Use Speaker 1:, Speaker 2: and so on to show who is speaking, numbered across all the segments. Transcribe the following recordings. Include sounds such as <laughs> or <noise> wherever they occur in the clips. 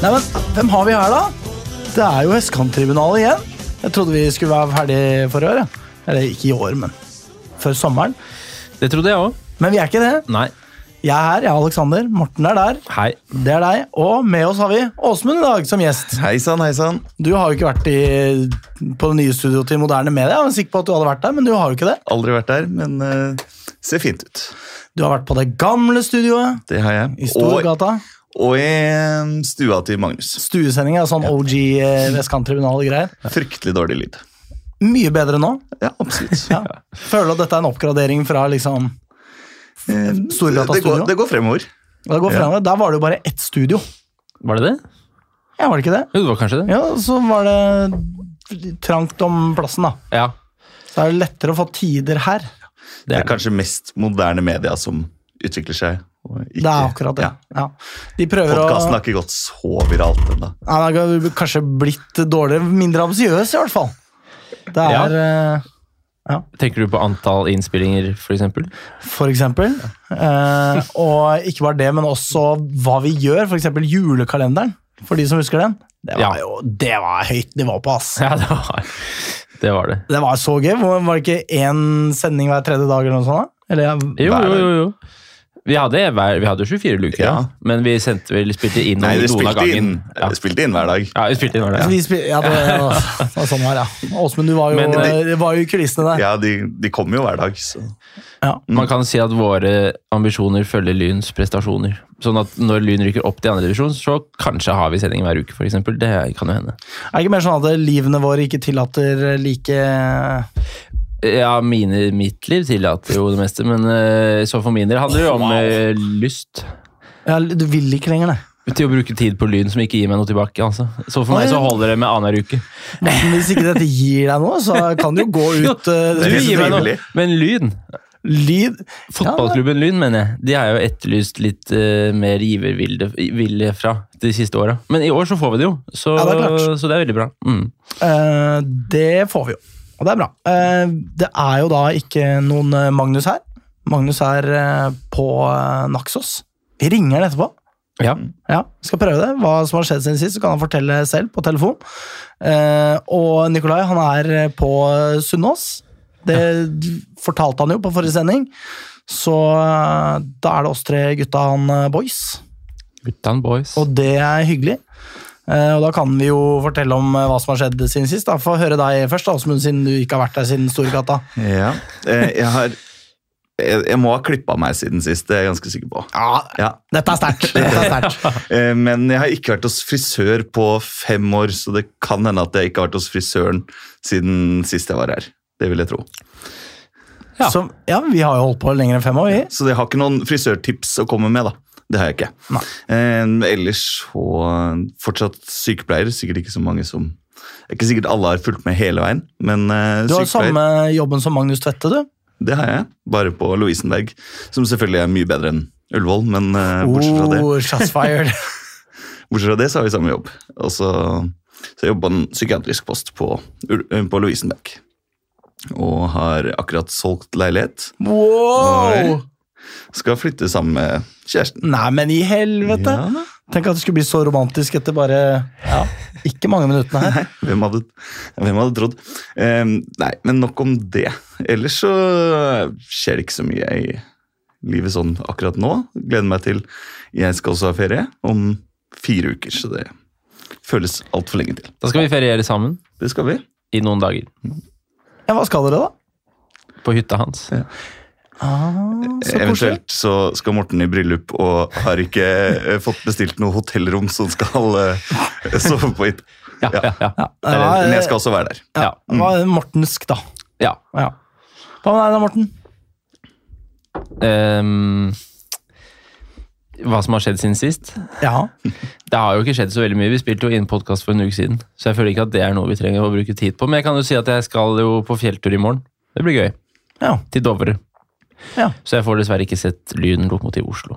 Speaker 1: Nei, men hvem har vi her, da? Det er jo Vestkanttribunalet igjen. Jeg trodde vi skulle være ferdig for i år. Ja. Eller ikke i år, men før sommeren.
Speaker 2: Det trodde jeg òg.
Speaker 1: Men vi er ikke det.
Speaker 2: Nei.
Speaker 1: Jeg er her, jeg er Aleksander. Morten er der.
Speaker 2: Hei.
Speaker 1: Det er deg. Og med oss har vi Åsmund i dag som gjest.
Speaker 3: Hei sann, hei sann.
Speaker 1: Du har jo ikke vært i, på det nye studioet til Moderne Media. Jeg var sikker på at du hadde vært der, men du har jo ikke det.
Speaker 3: Aldri vært der, men eh, ser fint ut.
Speaker 1: Du har vært på det gamle studioet
Speaker 3: Det har jeg.
Speaker 1: i
Speaker 3: Og,
Speaker 1: Storgata.
Speaker 3: og i eh, stua til Magnus.
Speaker 1: Stuesending er sånn OG eh, vestkanttribunal-greier.
Speaker 3: Fryktelig dårlig lyd.
Speaker 1: Mye bedre nå.
Speaker 3: Ja, absolutt.
Speaker 1: <laughs> Ja. Føler du at dette er en oppgradering fra liksom
Speaker 3: Eh,
Speaker 1: Storgata
Speaker 3: det,
Speaker 1: studio?
Speaker 3: går, det går fremover.
Speaker 1: Og det går
Speaker 3: Ja.
Speaker 1: fremover. Der var det jo bare ett studio.
Speaker 2: Var det det?
Speaker 1: Ja, var det ikke det?
Speaker 2: Jo, det var kanskje det.
Speaker 1: Ja, så var det trangt om plassen, da.
Speaker 2: Ja.
Speaker 1: Så er det lettere å få tider her.
Speaker 3: Det
Speaker 2: Det
Speaker 3: er
Speaker 2: er det.
Speaker 3: kanskje mest moderne media som utvikler seg. og ikke-
Speaker 1: Det er akkurat det.
Speaker 3: Ja.
Speaker 1: Ja. De prøver
Speaker 3: Podkasten
Speaker 1: å
Speaker 3: har ikke gått så viralt ennå.
Speaker 1: Ja, Den har kanskje blitt dårligere, mindre ambisiøs i hvert fall. Det
Speaker 2: Ja.
Speaker 1: er eh,
Speaker 2: Tenker du på antall innspillinger, for eksempel?
Speaker 1: for eksempel. Eh, og ikke bare det, men også hva vi gjør. For eksempel julekalenderen, for de som husker den. Det
Speaker 2: Ja.
Speaker 1: var jo det var høyt nivå på, ass.
Speaker 2: <laughs> Ja, det var det. Var det.
Speaker 1: Det var så gøy. Hvor- Var det ikke én sending hver tredje dag eller noe sånt? da? Eller,
Speaker 2: Jo,
Speaker 3: Hver-
Speaker 2: jo, jo. jo. Vi hadde, hver, vi hadde 24 luker,
Speaker 3: Ja.
Speaker 2: men vi sendte vel spilte inn
Speaker 3: Nei,
Speaker 2: noen
Speaker 3: det
Speaker 2: av
Speaker 3: spilte
Speaker 2: gangen.
Speaker 3: inn,
Speaker 2: Ja.
Speaker 3: det spilte inn hver dag.
Speaker 2: ja, vi spilte inn hver
Speaker 1: Så
Speaker 2: dag.
Speaker 1: de spil- Altså, ja, det,
Speaker 3: <laughs>
Speaker 1: det var sånn det var, ja. Åsmund, du var jo,
Speaker 2: Men det-
Speaker 1: det var jo i kulissene der.
Speaker 3: Ja, de, de kommer jo hver dag, så
Speaker 2: Man kan si at våre ambisjoner følger Lyns prestasjoner. Sånn at når Lyn rykker opp til andre divisjon, så kanskje har vi sending hver uke, for eksempel. Det kan jo hende.
Speaker 1: Er det ikke mer sånn at livene våre ikke tillater eh, like
Speaker 2: Ja, mine, mitt liv tillater jo det meste, men eh, så for min del handler det jo om eh, lyst.
Speaker 1: ja, Du vil ikke lenger, nei.
Speaker 2: Til å bruke tid på lyn som ikke gir meg noe tilbake. altså. Så for
Speaker 1: Oi.
Speaker 2: meg så holder det med annenhver uke.
Speaker 1: Morten, hvis ikke dette gir deg noe, så kan du jo gå ut
Speaker 2: Du
Speaker 1: eh,
Speaker 3: det er
Speaker 2: gir meg noe,
Speaker 3: trivelig.
Speaker 2: men lyn
Speaker 1: Lyd
Speaker 2: Fotballklubben Lyn, mener jeg. De er jo etterlyst litt eh, mer givervilje vilje fra de siste åra. Men i år så får vi det jo, så,
Speaker 1: Ja, det er klart.
Speaker 2: så det er veldig bra. Mm.
Speaker 1: Eh, det får vi jo, og det er bra. Eh, det er jo da ikke noen eh, Magnus her. Magnus er eh, på eh, Naxos. Vi ringer han etterpå.
Speaker 2: Ja.
Speaker 1: Ja, vi skal prøve det. Hva som har skjedd siden sist, så kan han fortelle selv på telefon. Eh, og Nikolai, han er eh, på Sunnaas. Det fortalte han jo på forrige sending. Så eh, da er det oss tre gutta han eh, boys,
Speaker 2: Guttan boys.
Speaker 1: og det er hyggelig. Eh, og da kan vi jo fortelle om eh, hva som har skjedd siden sist. da. Få høre deg først, da, Åsmund, siden du ikke har vært der siden Storgata.
Speaker 3: Ja. Eh, Jeg har Jeg, jeg må ha klippa meg siden sist, det er jeg ganske sikker på.
Speaker 1: Ja,
Speaker 3: Ja,
Speaker 1: dette er sterkt! Dette er
Speaker 3: <laughs>
Speaker 1: sterkt.
Speaker 3: Eh, Men jeg har ikke vært hos frisør på fem år, så det kan hende at jeg ikke har vært hos frisøren siden sist jeg var her. Det vil jeg tro.
Speaker 2: Ja.
Speaker 1: Så, ja, vi har jo holdt på lenger enn fem år, vi.
Speaker 3: Så jeg har ikke noen frisørtips å komme med, da. Det har jeg ikke. Eh, ellers så fortsatt sykepleier. Sikkert ikke så mange som det er Ikke sikkert alle har fulgt med hele veien, men eh,
Speaker 1: Du har
Speaker 3: sykepleier,
Speaker 1: samme jobben som Magnus Tvedte, du.
Speaker 3: det har jeg. Bare på Lovisenberg, som selvfølgelig er mye bedre enn Ullevål, men eh, bortsett fra det.
Speaker 1: Oh, shots fired.
Speaker 3: Bortsett fra det så har vi samme jobb. Og så, så jeg jobber på en psykiatrisk post på, Ul- eh, på Lovisenberg. Og har akkurat solgt leilighet.
Speaker 1: Wow!
Speaker 3: Skal flytte sammen med kjæresten.
Speaker 1: Nei, men i helvete!
Speaker 3: Ja da.
Speaker 1: Tenk at det skulle bli så romantisk etter bare ja, ikke mange minuttene <laughs> her.
Speaker 3: Hvem hadde, hvem hadde trodd? Eh, nei, men nok om det. Ellers så skjer det ikke så mye i livet sånn akkurat nå. Gleder meg til jeg skal også ha ferie om fire uker, så det føles altfor lenge til.
Speaker 2: Da skal vi feriere sammen
Speaker 3: Det skal vi.
Speaker 2: i noen dager.
Speaker 1: Ja, hva skal dere, da?
Speaker 2: På hytta hans.
Speaker 1: Ah, så koselig.
Speaker 3: Eventuelt så skal Morten i bryllup og har ikke eh, fått bestilt noe hotellrom som skal eh, sove på hytta.
Speaker 2: Ja, ja, ja.
Speaker 3: Eller,
Speaker 1: Ja,
Speaker 3: Men
Speaker 1: eh,
Speaker 3: jeg skal Mm. også være der.
Speaker 2: ja.
Speaker 1: det var mortensk, da.
Speaker 2: ja.
Speaker 1: Ja. Hva med deg da, Morten?
Speaker 2: Ehm, hva som har skjedd siden sist?
Speaker 1: Ja,
Speaker 2: Det har jo ikke skjedd så veldig mye. Vi spilte jo inn podkast for en uke siden, så jeg føler ikke at det er noe vi trenger å bruke tid på. Men jeg kan jo si at jeg skal jo på fjelltur i morgen. Det blir gøy.
Speaker 1: ja.
Speaker 2: Til Dovre.
Speaker 1: Ja.
Speaker 2: Så jeg får dessverre ikke sett Lyn lokomotiv Oslo.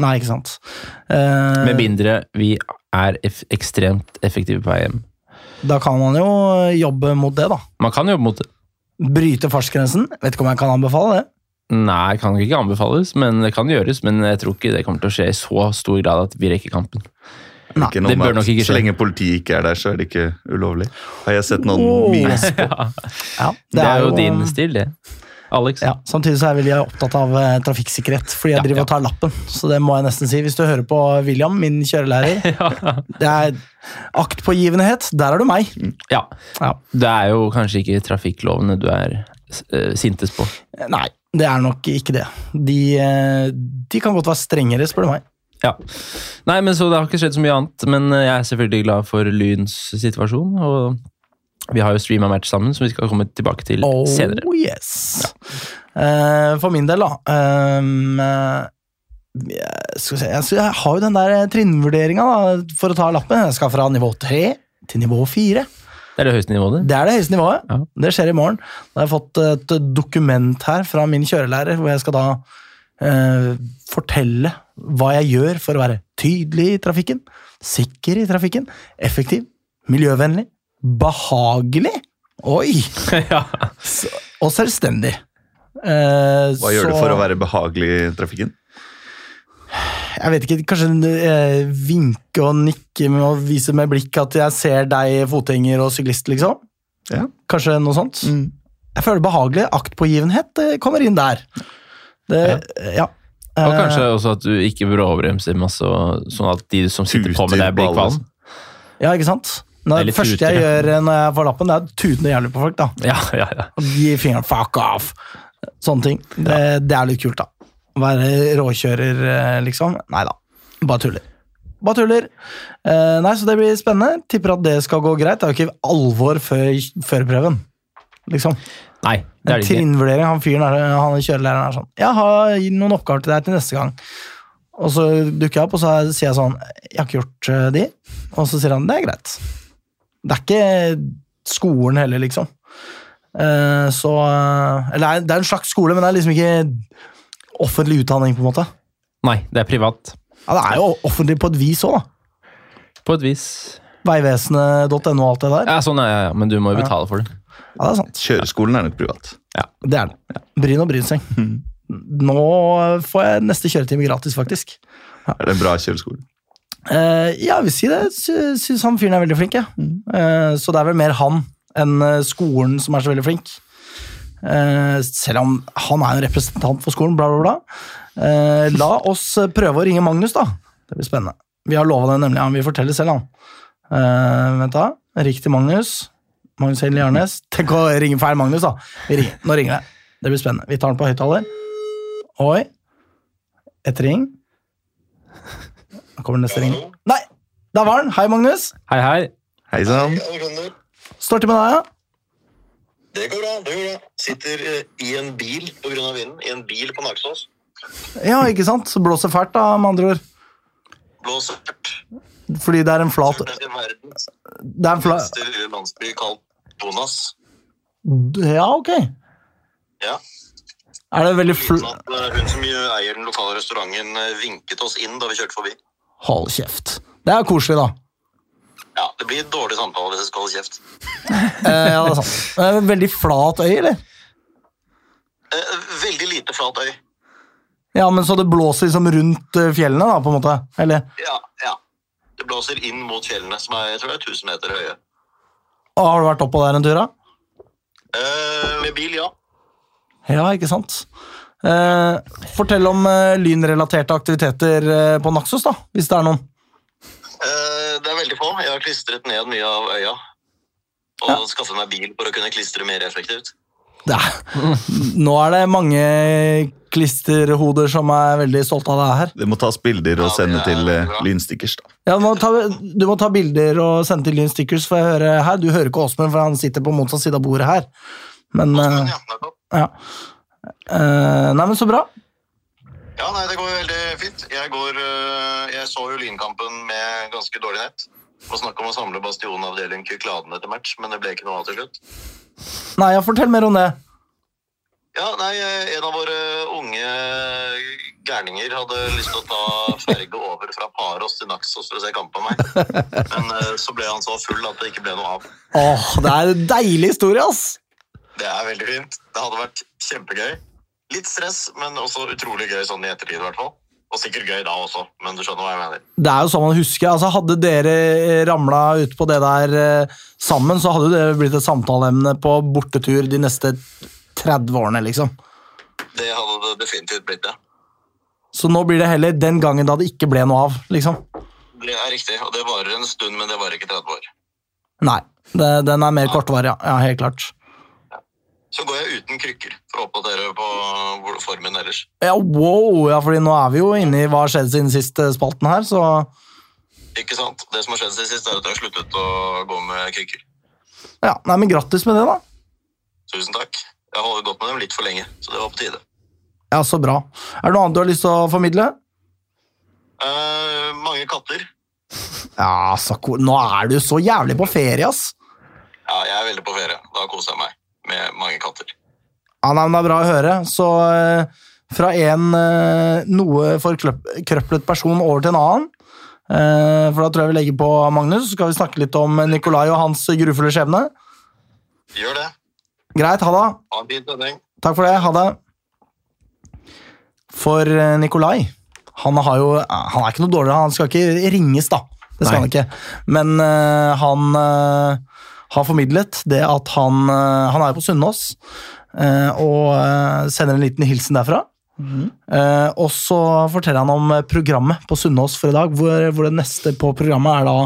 Speaker 1: Nei, ikke sant. Eh,
Speaker 2: Med mindre vi er eff ekstremt effektive på vei hjem.
Speaker 1: da kan man jo eh, jobbe mot det, da.
Speaker 2: Man kan jobbe mot det.
Speaker 1: Bryte fartsgrensen. Vet ikke om jeg kan anbefale det.
Speaker 2: Nei, kan ikke anbefales, men det kan gjøres. Men jeg tror ikke det kommer til å skje i så stor grad at vi rekker kampen.
Speaker 1: Nei,
Speaker 3: Ikke
Speaker 2: det
Speaker 3: noe
Speaker 2: bør
Speaker 3: med
Speaker 2: nok ikke
Speaker 3: at Så
Speaker 2: skje.
Speaker 3: lenge politiet ikke er der, så er det ikke ulovlig. Har jeg sett noen
Speaker 1: Oh.
Speaker 3: memes
Speaker 1: Ja,
Speaker 2: Det, er jo din stil, det. Alex.
Speaker 1: <laughs> Ja, Samtidig så er vel jeg opptatt av eh, trafikksikkerhet, fordi jeg
Speaker 2: Ja,
Speaker 1: driver
Speaker 2: ja.
Speaker 1: og tar lappen. Så det må jeg nesten si. Hvis du hører på William, min kjørelærer,
Speaker 2: <laughs>
Speaker 1: det er aktpågivenhet. Der er du meg.
Speaker 2: Ja.
Speaker 1: Ja.
Speaker 2: Det er jo kanskje ikke trafikklovene du er eh, sintes på.
Speaker 1: Nei, det er nok ikke det. De, eh, de kan godt være strengere, spør du meg.
Speaker 2: Ja. Nei, men så det har ikke skjedd så mye annet. Men eh, jeg er selvfølgelig glad for Lyns situasjon, og vi har jo streama match sammen, som vi skal komme tilbake til
Speaker 1: Oh
Speaker 2: senere.
Speaker 1: yes. Eh, for min del, da ehm, eh, jeg skal vi se, jeg, skal- jeg har jo den der eh, trinnvurderinga for å ta lappen. Jeg skal fra nivå tre til nivå fire.
Speaker 2: Det er det høyeste nivået, det.
Speaker 1: Det er det høyeste nivået.
Speaker 2: Ja.
Speaker 1: Det skjer i morgen. Da har jeg fått et dokument her fra min kjørelærer, hvor jeg skal da eh, fortelle hva jeg gjør for å være tydelig i trafikken, sikker i trafikken, effektiv, miljøvennlig, behagelig Oi!
Speaker 2: <laughs> ja.
Speaker 1: S- og selvstendig. Eh,
Speaker 3: Hva gjør du for å være behagelig i trafikken?
Speaker 1: Jeg vet ikke, Kanskje eh, vinke og nikke med å vise med blikk at jeg ser deg, fotgjenger og syklist, liksom.
Speaker 3: Ja.
Speaker 1: Kanskje noe sånt. Jeg føler behagelig. Aktpågivenhet eh, kommer inn der. Det, ja.
Speaker 2: Og
Speaker 1: Eh,
Speaker 2: kanskje også at du ikke bråbremser masse, og- sånn at de som sitter på med deg, blir
Speaker 3: Tuter,
Speaker 2: kvalm.
Speaker 1: Eh, Ja, ikke sant? Når
Speaker 2: Eller
Speaker 1: det første
Speaker 2: tuter.
Speaker 1: jeg gjør eh, når jeg får lappen, det er å tute noe jævlig på folk. da.
Speaker 2: Ja, ja, ja.
Speaker 1: Og Gi fingeren fuck off! Sånne ting. Det, det er litt kult, da. Å være råkjører, eh, liksom. Nei da. Bare tuller. Bare tuller. Eh, nei, så det blir spennende. Tipper at det skal gå greit. Det er jo ikke alvor før, før prøven. Liksom.
Speaker 2: Nei, det
Speaker 1: En
Speaker 2: er det ikke.
Speaker 1: trinnvurdering. Han fyren er, han kjørelæreren er sånn Jeg har noen oppgaver til deg til neste gang. Og så dukker jeg opp, og så er- sier jeg sånn Jeg har ikke gjort eh, de. Og så sier han det er greit. Det er ikke skolen heller, liksom. Eh, så eh, Eller det er- det er en slags skole, men det er liksom ikke offentlig utdanning, på en måte.
Speaker 2: Nei, det er privat.
Speaker 1: Ja, det er jo offentlig på et vis òg, da.
Speaker 2: På et vis.
Speaker 1: Veivesenet.no og alt det der.
Speaker 2: Ja, sånn er jeg, ja. men du må jo betale for det.
Speaker 1: Ja, det er sant.
Speaker 3: Kjøreskolen er nok privat.
Speaker 1: Det er det. Bryn og brynseng.
Speaker 2: Mhm.
Speaker 1: Nå får jeg neste kjøretime gratis, faktisk.
Speaker 3: Er det en bra kjøreskole?
Speaker 1: Eh, ja, jeg vil si det. Jeg syns han fyren er veldig flink. Ja. Eh, så det er vel mer han enn eh, skolen som er så veldig flink. Eh, selv om han er en representant for skolen, bla, bla, bla. Eh, la oss prøve å ringe Magnus, da. Det blir spennende. Vi har lova det, nemlig. Han vil fortelle selv, han. Eh, vent, da. Ring til Magnus. Magnus Helle Jarnes. Tenk å ringe feil Magnus, da. Vi ringer. Nå ringer det. Det blir spennende. Vi tar den på høyttaler. Oi. Et ring. Da kommer neste ring. Nei! Der var den! Hei, Magnus.
Speaker 2: Hei, hei.
Speaker 3: Hei sann.
Speaker 4: Alexander.
Speaker 1: Står til med deg, ja?
Speaker 4: Det går bra. det går bra. Sitter eh, i en bil pga. vinden. I en bil på Naksås.
Speaker 1: Ja, ikke sant? Så blåser fælt, da, med andre ord.
Speaker 4: Blåser hardt.
Speaker 1: Fordi det er en flat
Speaker 4: Det er verdens
Speaker 1: Det er en fla...
Speaker 4: minste lille eh, landsby kalt Bonas.
Speaker 1: Ja, ok.
Speaker 4: Ja.
Speaker 1: Er det veldig fl...
Speaker 4: Uten at eh, hun som jo eier den lokale restauranten, eh, vinket oss inn da vi kjørte forbi.
Speaker 1: Hold kjeft. Det er koselig, da.
Speaker 4: Ja, Det blir dårlig samtale hvis jeg skal holde kjeft.
Speaker 1: Eh, ja, det er sant. Det er en veldig flat øy, eller?
Speaker 4: Eh, Veldig lite flat øy.
Speaker 1: Ja, men så det blåser liksom rundt eh, fjellene, da, på en måte? Eller
Speaker 4: Ja, ja. Det blåser inn mot fjellene, som er jeg tror det er 1000 meter høye.
Speaker 1: Å, Har du vært oppå der en tur, da?
Speaker 4: Eh, Med bil, ja.
Speaker 1: Ja, ikke sant? Eh, fortell om eh, lynrelaterte aktiviteter eh, på Naxos, da, hvis det er noen.
Speaker 4: Eh, Det er veldig få. Jeg har klistret ned mye av øya. Og skaffet meg bil for å kunne klistre mer effektivt.
Speaker 1: Det er. Nå er det mange klisterhoder som er veldig stolte av det her.
Speaker 3: Det må tas bilder og
Speaker 4: Ja,
Speaker 3: sende
Speaker 4: det er
Speaker 3: til eh,
Speaker 4: bra.
Speaker 3: lynstikkers. da.
Speaker 1: Ja, du, må ta, du må ta bilder og sende til Lyn Stickers, for jeg hører her. Du hører ikke Åsmund, for han sitter på motsatt side av bordet her. Men,
Speaker 4: Men
Speaker 1: eh,
Speaker 4: ja, nettopp.
Speaker 1: ja. Eh, nei, men så bra.
Speaker 4: ja, nei, det går jo veldig fint. Jeg, går, eh, jeg så jo Lynkampen med ganske dårlig nett. Og snakk om å samle Bastion avdeling Kykladene til match, men det ble ikke noe av til slutt.
Speaker 1: Nei, ja, fortell mer om det.
Speaker 4: Ja, nei, eh, en av våre unge gærninger hadde lyst til å ta ferge over fra Paros til Naxos for å se kampen med meg. Men eh, så ble han så full at det ikke ble noe av.
Speaker 1: Åh, det er en deilig historie, ass!
Speaker 4: Det er veldig fint. Det hadde vært kjempegøy. Litt stress, men også utrolig gøy sånn i ettertid, i hvert fall. Og sikkert gøy da også, men du skjønner hva jeg mener.
Speaker 1: Det er jo sånn man husker. altså Hadde dere ramla ut på det der eh, sammen, så hadde jo det blitt et samtaleemne på bortetur de neste 30 årene, liksom.
Speaker 4: Det hadde det definitivt blitt, ja.
Speaker 1: Så nå blir det heller den gangen da det ikke ble noe av, liksom.
Speaker 4: Det er riktig, og det varer en stund, men det varer ikke 30 år.
Speaker 1: Nei. Det, den er mer kortvarig, ja. ja. Helt klart.
Speaker 4: Så går jeg uten krykker for å oppdatere på hvor- formen ellers.
Speaker 1: Ja, wow! Ja, fordi nå er vi jo inne i hva har skjedd siden siste spalten her, så
Speaker 4: Ikke sant? Det som har skjedd siden sist, er at jeg har sluttet å gå med krykker.
Speaker 1: ja. Nei, men grattis med det, da.
Speaker 4: Tusen takk. Jeg har gått med dem litt for lenge, så det var på tide.
Speaker 1: Ja, så bra. Er det noe annet du har lyst til å formidle?
Speaker 4: Eh, mange katter.
Speaker 1: Ja, så ko- Nå er du så jævlig på ferie, ass!
Speaker 4: Ja, jeg er veldig på ferie. Da koser jeg meg med mange katter.
Speaker 1: Ja, nei, men Det er bra å høre. Så eh, fra en eh, noe forkrøplet person over til en annen Eh, For da tror jeg vi legger på Magnus, så skal vi snakke litt om Nikolai og hans grufulle skjebne.
Speaker 4: Gjør det.
Speaker 1: Greit, ha det.
Speaker 4: Ha en fin sending.
Speaker 1: Takk for det. Ha det. For eh, Nikolai han, har jo, han er ikke noe dårligere. Han skal ikke ringes, da. Det skal
Speaker 3: Nei.
Speaker 1: han ikke. Men eh, han eh, har formidlet det at han eh, Han er jo på Sunnaas eh, og eh, sender en liten hilsen derfra. Eh, og så forteller han om eh, programmet på Sunnaas for i dag, hvor, hvor det neste på programmet er da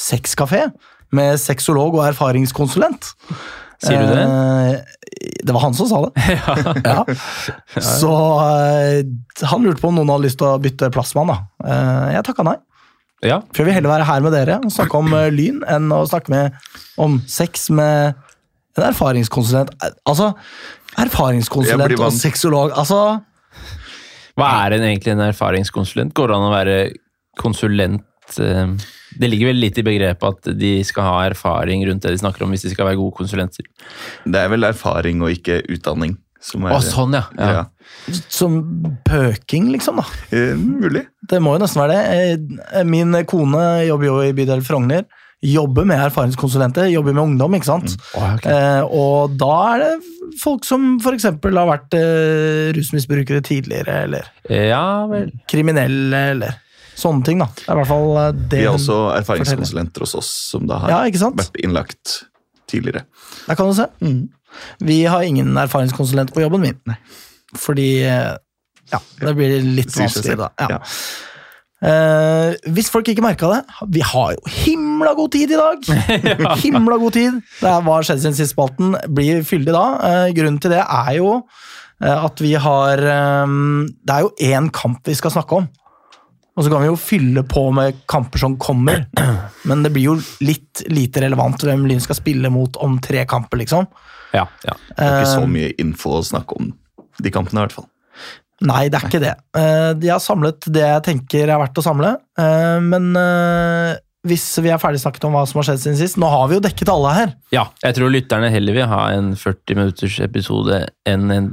Speaker 1: sexkafé med sexolog og erfaringskonsulent.
Speaker 2: Sier du det?
Speaker 1: Eh, det var han som sa det.
Speaker 2: <laughs>
Speaker 1: Ja. Så eh, han lurte på om noen hadde lyst til å bytte plass med han. da. Eh, jeg takka nei.
Speaker 2: Ja.
Speaker 1: For jeg vil heller være her med dere og snakke om eh, lyn enn å snakke med, om sex med en erfaringskonsulent. Eh, Altså,
Speaker 3: Jeg
Speaker 1: erfaringskonsulent
Speaker 3: blir
Speaker 1: og
Speaker 3: vant.
Speaker 1: sexolog altså,
Speaker 2: Hva er en, egentlig en erfaringskonsulent? Går det an å være konsulent eh, Det ligger vel litt i begrepet at de skal ha erfaring rundt det de snakker om, hvis de skal være gode konsulenter.
Speaker 3: Det er vel erfaring og ikke utdanning som er
Speaker 2: Å, sånn, ja.
Speaker 3: ja.
Speaker 2: ja.
Speaker 1: Som pøking, liksom. da.
Speaker 3: Eh, mulig.
Speaker 1: Det må jo nesten være det. Eh, Min kone jobber jo i bydel Frogner. Jobber med erfaringskonsulenter, jobber med ungdom. ikke sant?
Speaker 2: Å, ok.
Speaker 1: Eh, og da er det folk som f.eks. har vært eh, rusmisbrukere tidligere, eller
Speaker 2: Eh, ja vel.
Speaker 1: kriminelle, eller sånne ting. da. Det er i hvert fall eh, det.
Speaker 3: Vi har
Speaker 1: hun-
Speaker 3: også erfaringskonsulenter hos oss som da har
Speaker 1: Ja, ikke sant?
Speaker 3: vært innlagt tidligere.
Speaker 1: Der kan du se.
Speaker 3: Mm.
Speaker 1: Vi har ingen erfaringskonsulent på jobben min. Fordi eh, ja, det blir litt
Speaker 3: Sier
Speaker 1: vanskelig
Speaker 3: seg selv.
Speaker 1: da. Ja. Eh, hvis folk ikke merka det Vi har jo himla god tid i
Speaker 3: <laughs>
Speaker 1: dag! Himla god tid. Det er hva skjedde siden sist spalten. Blir fyldig da. Eh, grunnen til det er jo eh, at vi har eh, Det er jo én kamp vi skal snakke om. Og så kan vi jo fylle på med kamper som kommer, men det blir jo litt lite relevant hvem Lyn skal spille mot om tre kamper, liksom.
Speaker 2: Ja, ja.
Speaker 3: Det er ikke så mye info å snakke om de kampene, i hvert fall.
Speaker 1: Nei, det er ikke det. Eh, Jeg har samlet det jeg tenker er verdt å samle. eh, Men eh, hvis vi er ferdig snakket om hva som har skjedd siden sist Nå har vi jo dekket alle her.
Speaker 2: ja. Jeg tror lytterne heller vil ha en 40 minutters episode enn en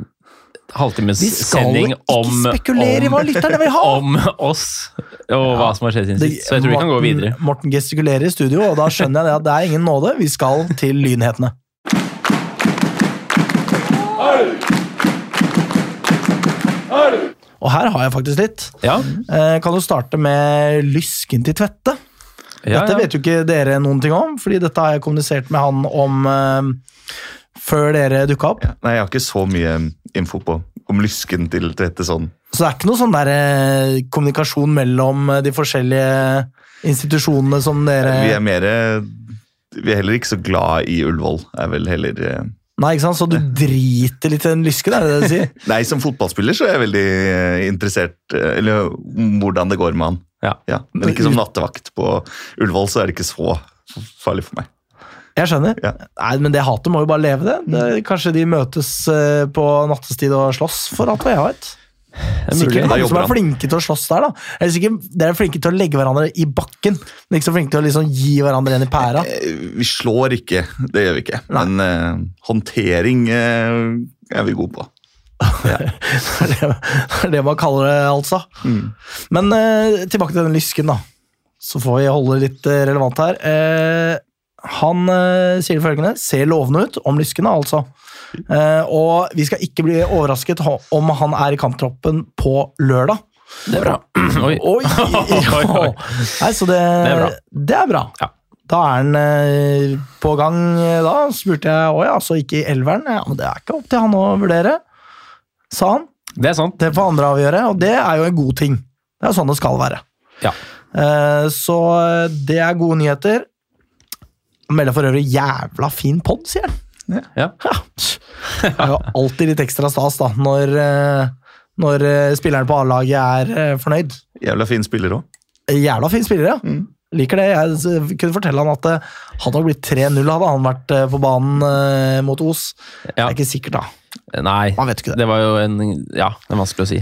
Speaker 2: halvtimes
Speaker 1: Vi skal jo
Speaker 2: sending
Speaker 1: ikke
Speaker 2: om,
Speaker 1: spekulere i hva
Speaker 2: om,
Speaker 1: lytterne vil ha!
Speaker 2: <laughs> om oss og hva som har skjedd siden
Speaker 1: Det-
Speaker 2: sist. Så jeg tror vi kan gå videre.
Speaker 1: Morten, Morten gestikulerer i studio, og da skjønner jeg det at det er ingen nåde. Vi skal til lynhetene. Og her har jeg faktisk litt.
Speaker 2: Ja,
Speaker 1: Eh, Kan jo starte med lysken til Tvette.
Speaker 2: ja,
Speaker 1: Dette
Speaker 2: ja.
Speaker 1: vet jo ikke dere noen ting om, fordi dette har jeg kommunisert med han om eh, før dere dukka opp.
Speaker 3: Nei, jeg har ikke så mye um, info på om lysken til Tvete sånn.
Speaker 1: Så det er ikke noe sånn der eh, kommunikasjon mellom eh, de forskjellige institusjonene som dere
Speaker 3: Vi er mer Vi er heller ikke så glad i Ullevål, er vel heller eh.
Speaker 1: Nei, ikke sant? Så du driter litt i den lysken, er det det du sier?
Speaker 3: Nei, som fotballspiller så er jeg veldig eh, interessert eh, Eller om hvordan det går med han.
Speaker 2: Ja.
Speaker 3: Ja, men ikke som nattevakt på Ullevål, så er det ikke så farlig for meg.
Speaker 1: Jeg skjønner.
Speaker 3: Ja.
Speaker 1: Nei, Men det hatet må jo bare leve, det. det kanskje de møtes eh, på nattestid og slåss, for alt hva jeg vet.
Speaker 2: Det er
Speaker 1: Sikkert
Speaker 2: mulig.
Speaker 1: mange
Speaker 3: Da
Speaker 1: som
Speaker 3: jobber
Speaker 1: er
Speaker 3: han.
Speaker 1: flinke til å slåss der, da. Eller sikkert dere er flinke til å legge hverandre i bakken, men ikke så flinke til å liksom gi hverandre en i pæra.
Speaker 3: Eh, Vi slår ikke, det gjør vi ikke. Men eh, håndtering eh, er vi gode på.
Speaker 1: Det er det- det er det man kaller det, altså.
Speaker 2: Mm.
Speaker 1: Men eh, tilbake til den lysken, da. Så får vi holde det litt eh, relevant her. Eh, han eh, sier følgende Ser lovende ut om lyskene, altså. Eh, og vi skal ikke bli overrasket ho- om han er i kamptroppen på lørdag.
Speaker 2: Det er bra. <clears throat> Oi.
Speaker 1: <laughs> Oi!
Speaker 2: Oi, oi.
Speaker 1: Nei, så det,
Speaker 2: Det er bra.
Speaker 1: Det er bra.
Speaker 2: Ja.
Speaker 1: Da er han eh, på gang eh, da. spurte jeg å ja, så ikke i elveren. Ja, men det er ikke opp til han å vurdere, sa han.
Speaker 2: Det er sant.
Speaker 1: Det får andre avgjøre, og det er jo en god ting. Det er sånn det skal være.
Speaker 2: Ja.
Speaker 1: Eh, Så det er gode nyheter. Han melder for øvrig jævla fin pod, sier han.
Speaker 2: Ja.
Speaker 1: Det er jo alltid litt ekstra stas da, når, eh, når eh, spilleren på A-laget er eh, fornøyd.
Speaker 3: Jævla fin spiller òg.
Speaker 1: Jævla fin spiller, ja. Liker det. Jeg s- kunne fortelle han at det hadde nok blitt 3-0 hadde han vært eh, på banen eh, mot Os. Det
Speaker 2: Ja.
Speaker 1: er ikke sikkert, da.
Speaker 2: Nei,
Speaker 1: Man vet ikke det.
Speaker 2: det var jo en Ja, det er vanskelig å si.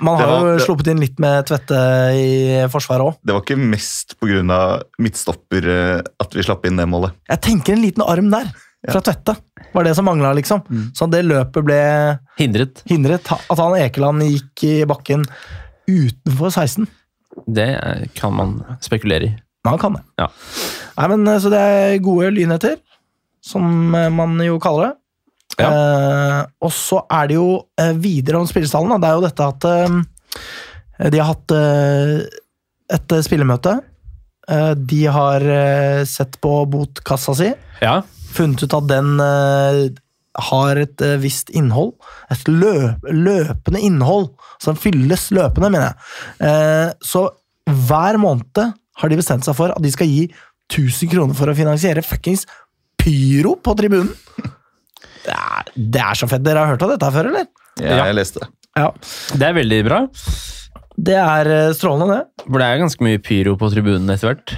Speaker 1: Man har
Speaker 3: Det var-
Speaker 1: jo
Speaker 3: det-
Speaker 1: sluppet inn litt med Tvette i forsvaret òg.
Speaker 3: Det var ikke mest pga. midtstopper eh, at vi slapp inn det målet.
Speaker 1: Jeg tenker en liten arm der, fra Tvette. Var det som mangla, liksom.
Speaker 2: Mm.
Speaker 1: Så det løpet ble
Speaker 2: Hindret.
Speaker 1: hindret. Ha- At han Ekeland gikk i bakken utenfor 16.
Speaker 2: Det eh, kan man spekulere i.
Speaker 1: Men han kan det.
Speaker 2: Ja.
Speaker 1: Nei, men eh, Så det er gode lynheter, som eh, man jo kaller det.
Speaker 2: Ja.
Speaker 1: Eh, og så er det jo eh, videre om spillestallen. Da. Det er jo dette at eh, de har hatt eh, et eh, spillemøte. Eh, de har eh, sett på botkassa si.
Speaker 2: Ja.
Speaker 1: funnet ut at den eh, har et eh, visst innhold. Et løp, løpende innhold. Så den fylles løpende, mener jeg. Eh, så hver måned har de bestemt seg for at de skal gi 1000 kroner for å finansiere fuckings pyro på tribunen. Det er, det er så fett. Dere har hørt om dette før, eller?
Speaker 3: Ja,
Speaker 2: Ja.
Speaker 3: Jeg leste det.
Speaker 1: Ja.
Speaker 2: Det er veldig bra.
Speaker 1: Det er eh, strålende, det.
Speaker 2: For det er ganske mye pyro på tribunen etter hvert.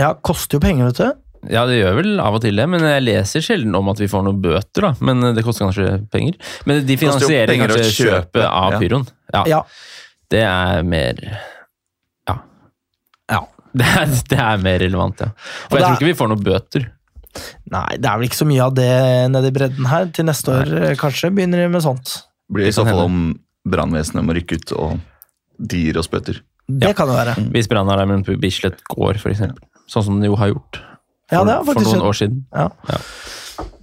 Speaker 1: Ja, koster jo penger, vet du.
Speaker 2: Ja, det gjør vel av og til det, men jeg leser sjelden om at vi får noen bøter, da. Men eh, det koster kanskje penger. Men de
Speaker 3: jo
Speaker 2: finansierer
Speaker 3: penger å
Speaker 2: kanskje
Speaker 3: kjøpe,
Speaker 2: kjøpet av
Speaker 3: ja.
Speaker 2: pyroen. Ja,
Speaker 1: Ja.
Speaker 2: Det er mer <laughs> Ja.
Speaker 1: Ja.
Speaker 2: Det er, det er mer relevant, ja.
Speaker 1: Og
Speaker 2: For
Speaker 1: det
Speaker 2: jeg
Speaker 1: er-
Speaker 2: tror ikke vi får noen bøter.
Speaker 1: Nei, det er vel ikke så mye av det nede i bredden her. Til neste år eh, kanskje begynner de med sånt.
Speaker 3: Blir i
Speaker 2: Det
Speaker 3: så
Speaker 2: kan
Speaker 3: fall om brannvesenet må rykke ut og de gir oss bøter.
Speaker 1: Det kan jo være.
Speaker 2: Hvis brannalarmen på Bislett går, for eksempel. Sånn som den jo har gjort for,
Speaker 1: Ja, det har
Speaker 2: for
Speaker 1: faktisk
Speaker 2: noen år siden.
Speaker 1: Ja.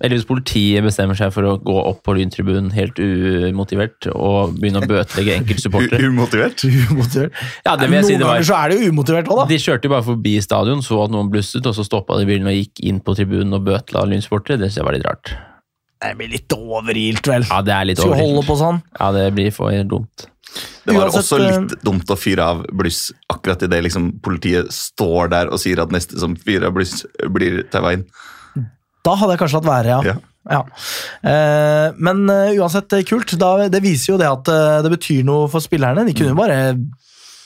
Speaker 2: Eller hvis politiet bestemmer seg for å gå opp på lyntribunen helt umotivert og begynne å bøtelegge
Speaker 1: <laughs>
Speaker 2: enkeltsupportere.
Speaker 3: U umotivert?
Speaker 1: <laughs> Umotivert.
Speaker 2: Ja, det vil jeg si det
Speaker 1: Noen ganger
Speaker 2: var.
Speaker 1: så er det jo umotivert òg, da.
Speaker 2: De kjørte jo bare forbi stadion, så at noen blusset, og så stoppa de bilen og gikk inn på tribunen og bøtela lynsupportere. Det synes jeg var litt rart.
Speaker 1: Det blir litt overilt, vel.
Speaker 2: Ja, det er litt
Speaker 1: Skulle holde
Speaker 2: overilt.
Speaker 1: på sånn.
Speaker 2: Ja, det blir for dumt.
Speaker 3: Det var
Speaker 1: Uansett,
Speaker 3: også
Speaker 1: eh,
Speaker 3: litt dumt å fyre av bluss akkurat idet liksom, politiet står der og sier at neste som fyrer av bluss, blir taua inn.
Speaker 1: Da hadde jeg kanskje latt være, ja.
Speaker 3: Ja.
Speaker 1: ja. Eh, men eh, uansett, det er kult. Da, det viser jo det at eh, det betyr noe for spillerne. De kunne jo bare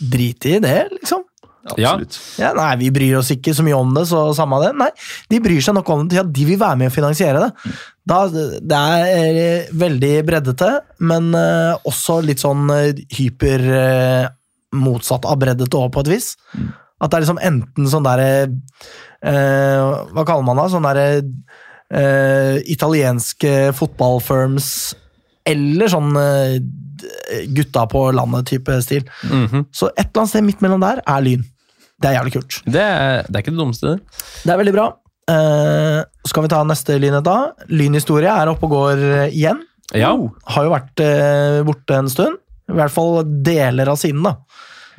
Speaker 1: drite i det, liksom.
Speaker 3: Absolutt.
Speaker 1: Ja, nei, vi bryr oss ikke så mye om det, så samme det. Nei, de bryr seg nok om det til at de vil være med å finansiere det. Da, det er eh, veldig breddete, men eh, også litt sånn eh, hyper eh, motsatt av breddete òg, på et vis. At det er liksom enten sånn derre eh, Hva kaller man det? Sånn derre eh, italienske fotballfirms eller sånn eh, gutta på landet-type stil.
Speaker 2: Mhm.
Speaker 1: Så et eller annet sted midt mellom der er Lyn. Det er jævlig kult.
Speaker 2: det, er, det er ikke det dummeste. det.
Speaker 1: Det er veldig bra. Eh, så kan vi ta neste lynhet da. Lynhistorie er oppe og går eh, igjen.
Speaker 2: Ja.
Speaker 1: Har jo vært eh, borte en stund. I hvert fall deler av siden, da.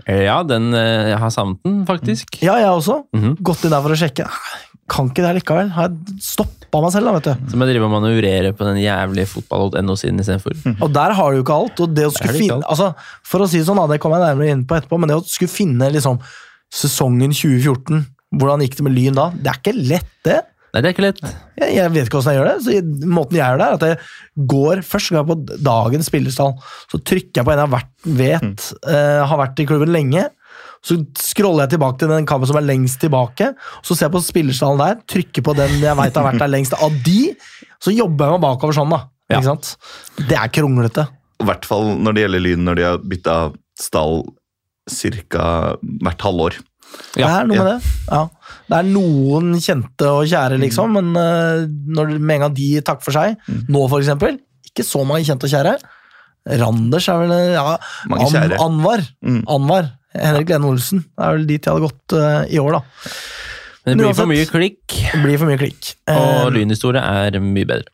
Speaker 2: ja, den eh, Jeg har savnet den, faktisk.
Speaker 1: Ja, jeg også.
Speaker 2: Mhm.
Speaker 1: Gått inn der for å sjekke. Kan ikke det likevel. Har jeg stoppa meg selv, da, vet du.
Speaker 2: Så må jeg drive og manøvrere på den jævlige fotball.no-siden istedenfor.
Speaker 1: Og der har du jo ikke alt. Og det å skulle
Speaker 2: det ikke
Speaker 1: finne, altså, for å si det sånn, da, det kommer jeg nærmere inn på etterpå, men det å skulle finne liksom, sesongen 2014, hvordan gikk det med Lyn da? Det er ikke lett, det.
Speaker 2: Nei, det er ikke lett.
Speaker 1: Jeg, jeg vet ikke hvordan jeg gjør det. Så jeg, måten jeg gjør det, er at jeg går først skal jeg på dagens spillerstall. Så trykker jeg på en jeg har vært, vet eh, har vært i klubben lenge. Så scroller jeg tilbake til den kampen som er lengst tilbake. Så ser jeg på spillerstallen der, trykker på den jeg veit har vært der lengst av de. Så jobber jeg meg bakover sånn, da.
Speaker 2: Ja.
Speaker 1: Ikke sant? Det er kronglete.
Speaker 3: I hvert fall når det gjelder Lyn, når de har bytta stall ca. hvert halvår.
Speaker 1: det
Speaker 2: Ja,
Speaker 1: er noe
Speaker 3: ja. Mm.
Speaker 1: med det. Ja. Det er noen kjente og kjære, liksom, men eh, når, med en gang de takker for seg Nå, for eksempel. Ikke så mange kjente og kjære. Randers er vel eh, ja,
Speaker 3: Mange
Speaker 1: An
Speaker 3: kjære.
Speaker 1: Anvar.
Speaker 3: Mm.
Speaker 1: Anvar. Henrik Lene Olsen. Det er vel dit jeg hadde gått eh, i år, da.
Speaker 2: Men det blir for mye
Speaker 1: Uansett.
Speaker 2: klikk,
Speaker 1: Det blir for mye klikk. Eh,
Speaker 2: og lynhistorie er mye bedre.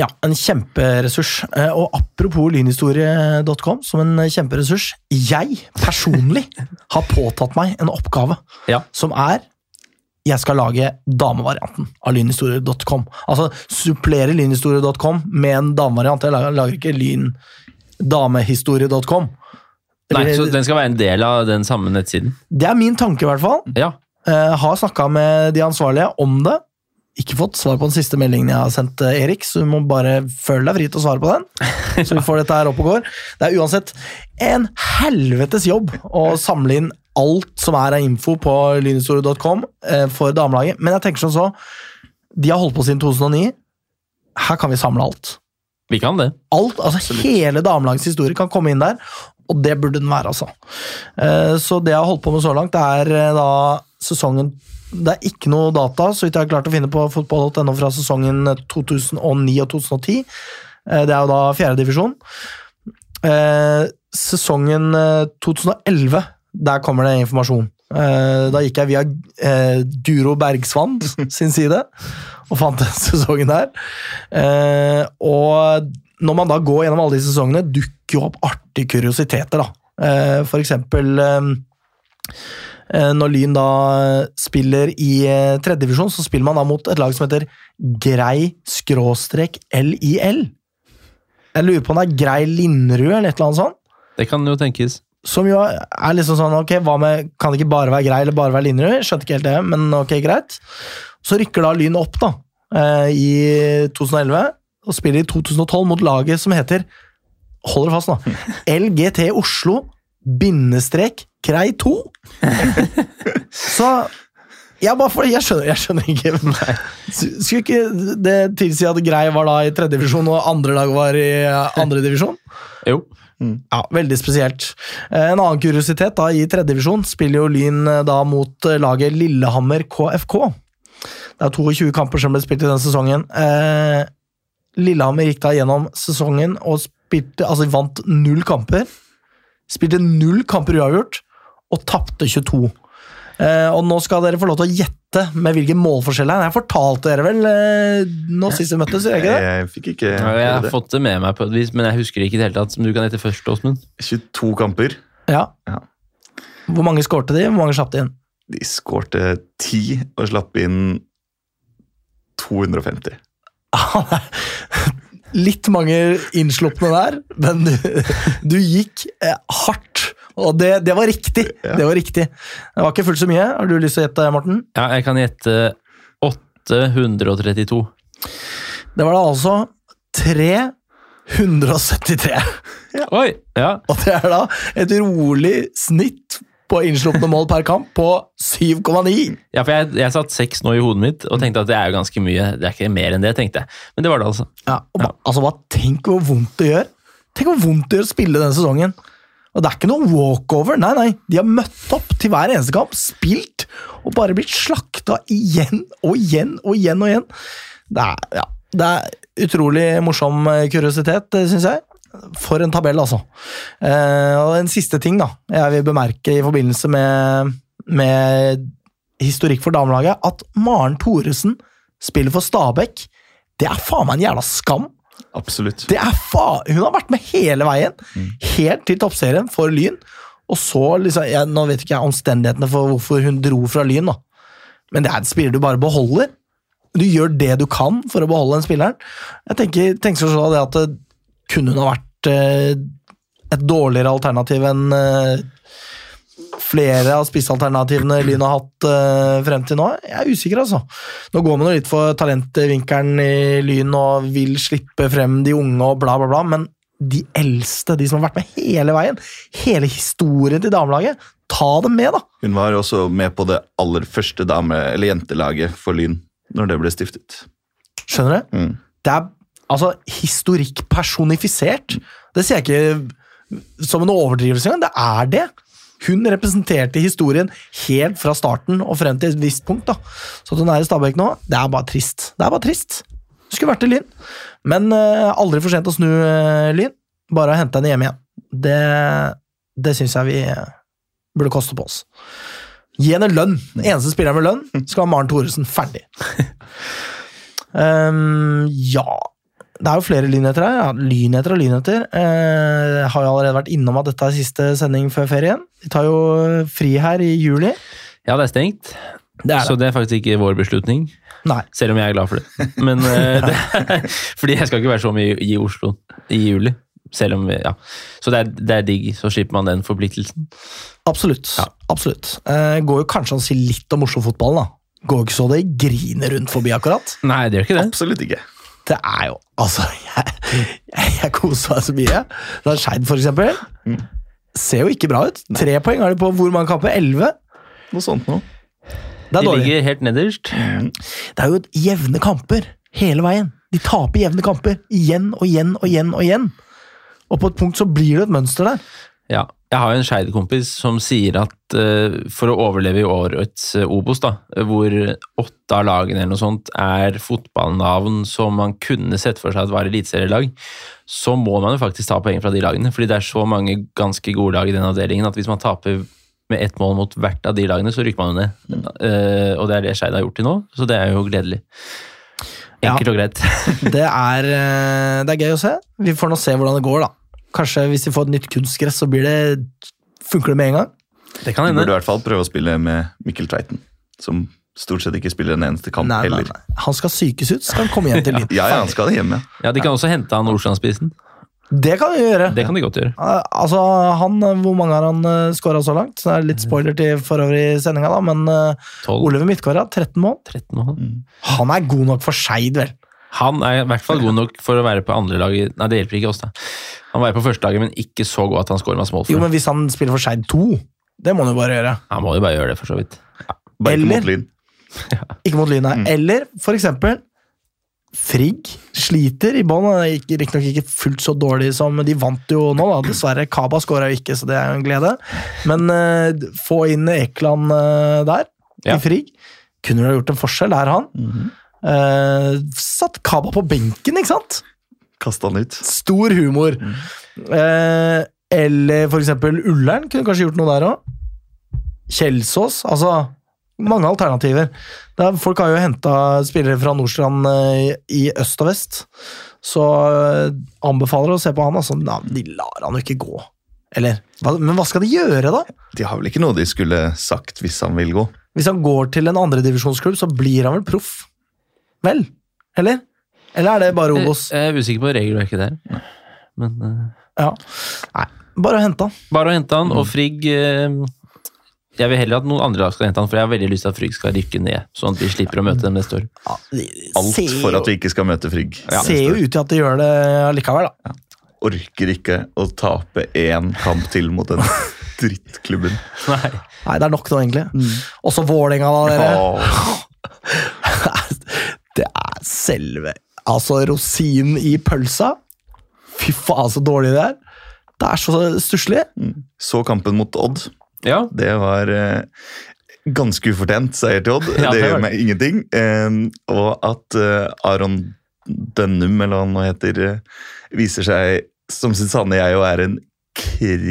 Speaker 1: Ja, en kjemperessurs. Eh, Og apropos lynhistorie.com som en kjemperessurs. Jeg
Speaker 2: <laughs>
Speaker 1: personlig har påtatt meg en oppgave
Speaker 2: Ja.
Speaker 1: som er jeg skal lage damevarianten av lynhistorie.com. Altså supplere lynhistorie.com med en damevariant. Jeg lager, lager ikke lyndamehistorie.com. Det,
Speaker 2: Nei, så
Speaker 1: blir-
Speaker 2: den skal være en del av den samme nettsiden.
Speaker 1: det er min tanke, i hvert fall.
Speaker 2: Ja.
Speaker 1: Eh, har snakka med de ansvarlige om det. Ikke fått svar på den siste meldingen jeg har sendt eh, Erik, så du må bare føle deg fri til å svare på den. Så vi får dette her opp og går. Det er uansett en helvetes jobb å samle inn alt som er av info på lynhistorie.com eh, for damelaget, men jeg tenker sånn så De har holdt på siden 2009. Her kan vi samle alt.
Speaker 2: Vi kan det.
Speaker 1: Alt, altså Hele damelagets historie kan komme inn der, og det burde den være. altså. Eh, Så det jeg har holdt på med så langt, det er eh, da sesongen Det er ikke noe data så vidt jeg har klart å finne på fotball.no fra sesongen 2009 og 2010. Eh, Det er jo da fjerdedivisjon. Sesongen eh, 2011, der kommer det informasjon. Eh, Da gikk jeg via eh, Guro Bergsvand sin side og fant den <laughs> sesongen der. Eh, og når man da går gjennom alle de sesongene, dukker jo opp artige kuriositeter. da. Eh, for eksempel eh, eh, når Lyn da spiller i eh, tredjedivisjon, så spiller man da mot et lag som heter Grei skråstrek LIL. Jeg lurer på om det er Grei Linderud eller et eller annet sånt.
Speaker 2: Det kan jo tenkes.
Speaker 1: Som jo er liksom sånn Ok, hva med Kan det ikke bare være grei eller bare være Linderud? Skjønte ikke helt det, men ok, greit. Så rykker da Lyn opp, da, eh, i 2011, og spiller i 2012 mot laget som heter Hold dere fast nå. LGT Oslo bindestrek Krei 2. Så jeg bare får, jeg skjønner, jeg skjønner ikke Skulle ikke det tilsi at Grei var da i tredje divisjon, og andre lag var i eh, andre divisjon?
Speaker 2: Jo.
Speaker 1: Ja, veldig spesielt. Eh, En annen kuriositet da, i tredje divisjon spiller jo Lyn eh, da mot eh, laget Lillehammer KFK. Det er 22 kamper som ble spilt i den sesongen. Eh, Lillehammer gikk da gjennom sesongen og spilte, altså vant null kamper. Spilte null kamper uavgjort og tapte 22. Eh, og nå skal dere få lov til å gjette med hvilken målforskjell det er. Jeg fortalte dere vel eh, nå sist vi møttes, gjorde jeg ikke det?
Speaker 3: Jeg fikk ikke
Speaker 2: Ja, Jeg har
Speaker 3: det.
Speaker 2: fått det med meg på et vis, men jeg husker det ikke i det hele tatt. Som du kan hete først, Åsmund.
Speaker 3: 22 kamper.
Speaker 1: Ja.
Speaker 3: Ja.
Speaker 1: Hvor mange skårte de? Hvor mange slapp de inn?
Speaker 3: De skårte 10 og slapp inn 250.
Speaker 1: <laughs> litt mange innslupne der, men du, du gikk eh, hardt. Og det, det var riktig!
Speaker 3: Ja.
Speaker 1: Det var riktig. Det var ikke fullt så mye. Har du lyst til å gjette, Morten?
Speaker 2: Ja, jeg kan gjette 832.
Speaker 1: Det var da altså 373.
Speaker 2: Oi! Ja.
Speaker 1: Og det er da et rolig snitt på innslupne mål per kamp på 7,9.
Speaker 2: Ja, for jeg, jeg satt seks nå i hodet mitt og tenkte at det er jo ganske mye. Det er ikke mer enn det, tenkte jeg. Men det var det, altså.
Speaker 1: Ja, og ba, altså bare Tenk hvor vondt det gjør Tenk hvor vondt det gjør å spille denne sesongen. Og Det er ikke noe walkover. Nei, nei. De har møtt opp til hver eneste kamp, spilt, og bare blitt slakta igjen og igjen og igjen. og igjen. Det er, ja, det er utrolig morsom eh, kuriositet, syns jeg. For en tabell, altså. Eh, og en siste ting da, jeg vil bemerke i forbindelse med, med historikk for damelaget, at Maren Thoresen spiller for Stabæk. Det er faen meg en jævla skam!
Speaker 3: Absolutt.
Speaker 1: Det er fa Hun har vært med hele veien, helt til toppserien for Lyn. Og så, liksom, jeg, Nå vet ikke jeg omstendighetene for hvorfor hun dro fra Lyn, da. men det er en spiller du bare beholder. Du gjør det du kan for å beholde den spilleren. Jeg tenker, tenker sånn det at eh, Kunne hun ha vært eh, et dårligere alternativ enn eh, flere av spissalternativene Lyn har hatt eh, frem til nå? Jeg er usikker, altså. Nå går man jo litt for talentvinkelen i Lyn og vil slippe frem de unge og bla, bla, bla, men de eldste, de som har vært med hele veien, hele historien til damelaget, ta dem med, da!
Speaker 3: Hun var også med på det aller første dame- eller jentelaget for Lyn når det ble stiftet.
Speaker 1: Skjønner du?
Speaker 3: Mm.
Speaker 1: Det er altså historikk personifisert. Det sier jeg ikke som en overdrivelse engang, det er det. Hun representerte historien helt fra starten og frem til et visst punkt. da. Så at hun er i Stabæk nå, det er bare trist. Det er bare trist. Skulle vært i Lyn. Men eh, aldri for sent å snu eh, Lyn. Bare hente henne hjem igjen. Det, det syns jeg vi eh, burde koste på oss. Gi henne lønn! Den eneste spilleren med lønn skal ha Maren Thoresen. Ferdig. Ehm, ja det er jo flere lynheter her. Ja. Lynheter og lynheter. Eh, har jo allerede vært innom at dette er siste sending før ferien. Vi tar jo eh, fri her i juli.
Speaker 2: Ja, det er stengt. Så det er faktisk ikke vår beslutning,
Speaker 1: Nei.
Speaker 2: selv om jeg er glad for det. <laughs> Men, eh, det er, fordi jeg skal ikke være så mye i Oslo i juli. Selv om, vi- ja. Så det er, det er digg, så slipper man den forpliktelsen.
Speaker 1: Absolutt.
Speaker 2: Ja.
Speaker 1: absolutt. Eh, går jo kanskje an å si litt om Oslo-fotballen, da. Går jo ikke så det griner rundt forbi, akkurat.
Speaker 2: Nei, det gjør ikke det.
Speaker 3: Absolutt ikke.
Speaker 1: Det er jo Altså, <laughs> jeg, jeg, jeg koser meg så mye. Det er Skeid, for eksempel.
Speaker 2: Mm.
Speaker 1: Ser jo ikke bra ut. Tre poeng har de på hvor mange kamper? Elleve?
Speaker 3: Noe sånt noe.
Speaker 1: Det er
Speaker 2: De
Speaker 1: dårlig.
Speaker 2: ligger helt nederst.
Speaker 1: Det er jo jevne kamper hele veien. De taper jevne kamper igjen og igjen og igjen og igjen. Og på et punkt så blir det et mønster der.
Speaker 2: Ja. Jeg har jo en Skeid-kompis som sier at eh, for å overleve i årets eh, Obos, da, hvor åtte av lagene eller noe sånt er fotballnavn som man kunne sett for seg at var eliteserielag, så må man jo faktisk ta poeng fra de lagene. Fordi det er så mange ganske gode lag i den avdelingen at hvis man taper med ett mål mot hvert av de lagene, så rykker man jo ned. Eh, og det er det Skeid har gjort til nå, så det er jo gledelig.
Speaker 1: Ja.
Speaker 2: Enkelt og greit.
Speaker 1: <laughs> Det er, eh, det er gøy å se. Vi får nå se hvordan det går, da. Kanskje hvis de får et nytt kunstgress, så blir det, funker det med en gang.
Speaker 2: Det kan
Speaker 3: Du burde
Speaker 2: hende.
Speaker 1: eh,
Speaker 3: i hvert fall prøve å spille med Mikkel Tveiten, som stort sett ikke spiller en eneste kamp
Speaker 1: Nei, nei,
Speaker 3: heller.
Speaker 1: nei. Han skal psykes ut, skal han komme igjen til litt.
Speaker 3: Ja, ja, han skal hjem, ja.
Speaker 2: Ja, De kan også hente han Nordstrandspissen.
Speaker 1: Det kan vi gjøre.
Speaker 2: Det kan de godt gjøre.
Speaker 1: Eh, Altså, han, eh, Hvor mange har han uh, skåra så langt? Så det er litt spoiler til for øvrig sendinga, da, men uh,
Speaker 2: 12-13
Speaker 1: Oliver Midtgaard har 13 mål.
Speaker 2: mål.
Speaker 3: Mm.
Speaker 1: Han er god nok for Skeid, vel.
Speaker 2: Han er i hvert fall god nok for å være på andre lag. i- Nei, det hjelper ikke oss, da. Han var jo på første laget, men ikke så god at han scorer masse mål. For
Speaker 1: Jo,
Speaker 2: det.
Speaker 1: men hvis han spiller for Skeid 2, det må han jo bare gjøre.
Speaker 2: Han må jo bare gjøre det, for så vidt.
Speaker 3: Bare ikke
Speaker 1: Eller-
Speaker 3: mot Lyn.
Speaker 1: Ikke mot Lyn, nei. Eller for eksempel Frigg sliter i bånn. Han er ikke- Riktignok ikke fullt så dårlig som De vant jo nå, da. Dessverre. Kaba skåra jo ikke, så det er jo en glede. Men eh, få inn Ekeland eh, der,
Speaker 2: Ja.
Speaker 1: i Frigg. Kunne du ha gjort en forskjell der, han? Eh, satt Kaba på benken, ikke sant?
Speaker 3: Kaste han ut.
Speaker 1: Stor humor.
Speaker 3: Mm.
Speaker 1: Eh, eller for eksempel Ullern kunne kanskje gjort noe der òg. Kjelsås. Altså mange alternativer. Det er, folk har jo henta spillere fra Nordstrand eh, i øst og vest. Så eh, anbefaler å se på han. Altså, na, de lar han jo ikke gå. Eller, hva, men hva skal de gjøre, da?
Speaker 3: De har vel ikke noe de skulle sagt hvis han vil gå.
Speaker 1: Hvis han går til en andredivisjonsklubb, så blir han vel proff? Vel? Eller? Eller er det bare Obos?
Speaker 2: Jeg jeg er usikker på regelverket der. Men eh,
Speaker 1: Ja. Nei, bare å hente han.
Speaker 2: bare å hente han, og Frigg eh, Jeg vil heller at noen andre lag skal hente han, for jeg har veldig lyst til at Frigg skal rykke ned. Sånn at vi slipper å møte dem neste år.
Speaker 1: Ja, de- ser
Speaker 3: Alt for
Speaker 1: jo-
Speaker 3: at vi ikke skal møte Frigg.
Speaker 1: ser jo ut til at de gjør det allikevel, da.
Speaker 3: Orker ikke å tape én kamp til mot den drittklubben.
Speaker 2: Nei.
Speaker 1: Nei, det er nok nå, egentlig. Også Vålerenga, da, dere.
Speaker 3: Åh,
Speaker 1: Det er selve Altså, rosinen i pølsa. Fy faen, så dårlig det er. Det er så stusslig.
Speaker 3: så kampen mot Odd.
Speaker 2: Ja,
Speaker 3: Det var eh, ganske ufortjent seier til Odd.
Speaker 2: Ja,
Speaker 3: det
Speaker 2: det
Speaker 3: gjør
Speaker 2: var det.
Speaker 3: meg ingenting. Eh, og at eh, Aron Dønnum, eller hva han nå heter, eh, viser seg som sitt sanne jeg og er en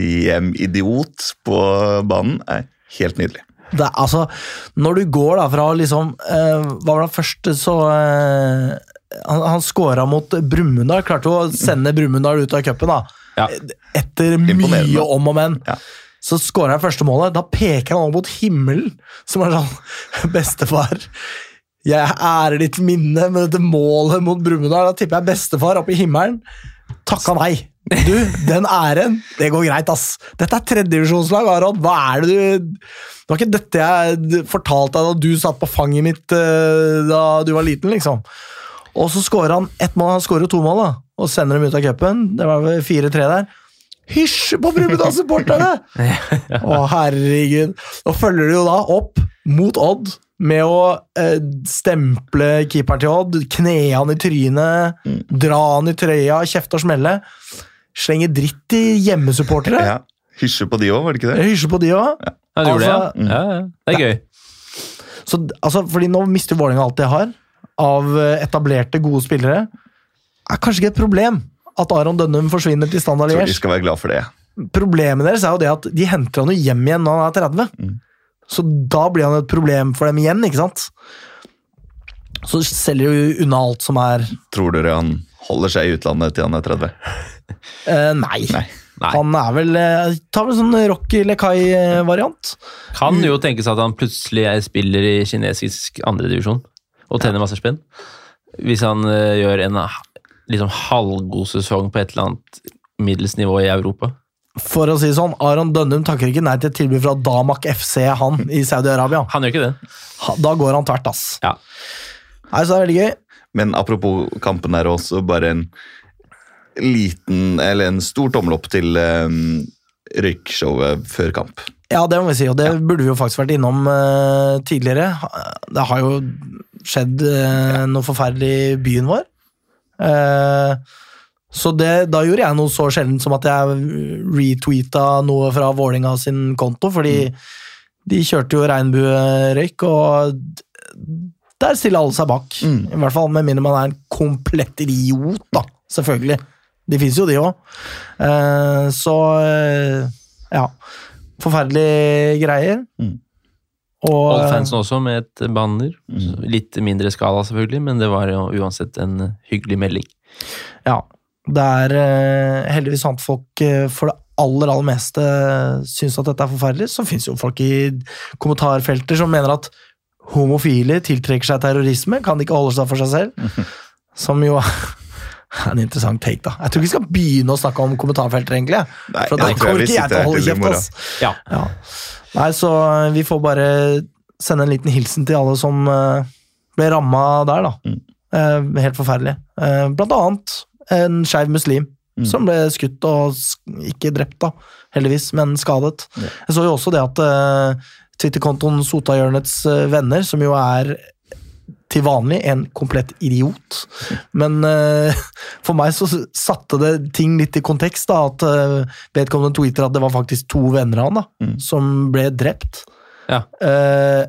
Speaker 3: kremidiot på banen, er helt nydelig.
Speaker 1: Det er, altså, når du går da fra å liksom eh, Hva var det første så eh, Han, han scora mot Brumunddal. Klarte å sende Brumunddal ut av cupen, da.
Speaker 2: Ja.
Speaker 1: Etter
Speaker 3: Imponerende.
Speaker 1: mye om og men.
Speaker 3: Ja.
Speaker 1: Så skårer han første målet. Da peker han opp mot himmelen, som er sånn <laughs> Bestefar, jeg ærer ditt minne med dette målet mot Brumunddal. Da tipper jeg bestefar opp i himmelen. Takka nei. Du, den æren, det går greit, ass. Dette er tredjedivisjonslag, Aron. Hva er det du Det var ikke dette jeg d- fortalte deg da du satt på fanget mitt eh, da du var liten, liksom. Og så skårer han ett mål, han skårer jo to mål, da. Og sender dem ut av cupen. Det var vel 4-3 der. Hysj på Brumunddal-supporterne! Å, herregud. Og følger du jo da opp mot Odd med å eh, stemple keeperen til Odd, kne han i trynet, dra han i trøya, kjefte og smelle. Slenge dritt i hjemmesupportere.
Speaker 3: Ja. Hysje på de òg, var det ikke det?
Speaker 1: Jeg hysjer på de òg.
Speaker 2: han gjorde
Speaker 1: Altså-
Speaker 2: det, ja. Ja, ja. Det er gøy.
Speaker 1: Så, d- altså, fordi nå mister Vålerenga alt de har av eh, etablerte, gode spillere. Det er kanskje ikke et problem at Aron Dønnum forsvinner til Standard
Speaker 3: Jeg tror de
Speaker 1: Liège.
Speaker 3: skal være glad for det.
Speaker 1: Problemet deres er jo det at de henter han jo hjem igjen når han er 30.
Speaker 3: Mm.
Speaker 1: Så da blir han et problem for dem igjen, ikke sant? Så selger jo unna alt som er
Speaker 3: Tror dere han Holder seg i utlandet til han er 30.
Speaker 1: Eh, nei.
Speaker 3: Nei.
Speaker 2: Nei.
Speaker 1: Han er vel eh, Tar vel sånn Rocky eh, Lekai-variant.
Speaker 2: Kan jo tenkes at han plutselig er spiller i kinesisk andredivisjon og tjener masse spenn. Hvis han eh, gjør en eh, liksom halvgod sesong på et eller annet middels nivå i Europa.
Speaker 1: For å si det sånn, Aron Dønnum takker ikke nei til et tilbud fra Damak FC, han, i Saudi-Arabia.
Speaker 2: Han gjør ikke det.
Speaker 1: Ha- Da går han tvert, ass.
Speaker 2: Ja.
Speaker 1: Nei, så det er veldig gøy.
Speaker 3: Men apropos kampen der også, bare en liten, eller en stor tommel opp til um, røykshowet før kamp.
Speaker 1: Ja, det må vi si, og det burde vi jo faktisk vært innom eh, tidligere. Ha- Det har jo skjedd eh, noe forferdelig i byen vår. Eh, så det, da gjorde jeg noe så sjeldent som at jeg retweeta noe fra Vålinga sin konto, fordi de kjørte jo regnbuerøyk, og d- der stiller alle seg bak. I hvert fall med mindre man er en komplett idiot, da. Selvfølgelig. De fins jo, de òg. så eh, ja. Forferdelige greier. Og
Speaker 2: Alle fansen også med et banner. Så Litt mindre skala, selvfølgelig, men det var jo uansett en eh, hyggelig melding.
Speaker 1: ja, det er eh, heldigvis sånn at folk eh, for det aller, aller meste syns at dette er forferdelig. Så fins jo folk i kommentarfelter som mener at homofile tiltrekker seg terrorisme, kan de ikke holde seg for seg selv. Som jo er en interessant take, da. Jeg tror ikke vi skal begynne å snakke om kommentarfelter, egentlig.
Speaker 3: Nei,
Speaker 1: for da
Speaker 3: jeg tror jeg
Speaker 1: kommer
Speaker 3: vil
Speaker 1: ikke jeg
Speaker 3: sitte
Speaker 1: til å
Speaker 3: her
Speaker 1: holde
Speaker 3: til i
Speaker 1: kjeft,
Speaker 3: morgen.
Speaker 1: ass.
Speaker 2: Ja.
Speaker 1: Ja. Nei, så eh, vi får bare sende en liten hilsen til alle som eh, ble ramma der, da.
Speaker 3: Mm.
Speaker 1: Eh, helt forferdelig. Eh, blant annet en skeiv muslim
Speaker 3: Mm.
Speaker 1: som ble skutt og sk- ikke drept, da, heldigvis, men skadet. Jeg så jo også det at eh, Twitter-kontoen Sotahjørnets eh, venner, som jo er til vanlig en komplett idiot, men eh, for meg så satte det ting litt i kontekst, da, at eh, vedkommende tweeter at det var faktisk to venner av han da, som ble drept.
Speaker 2: Ja.
Speaker 1: Eh,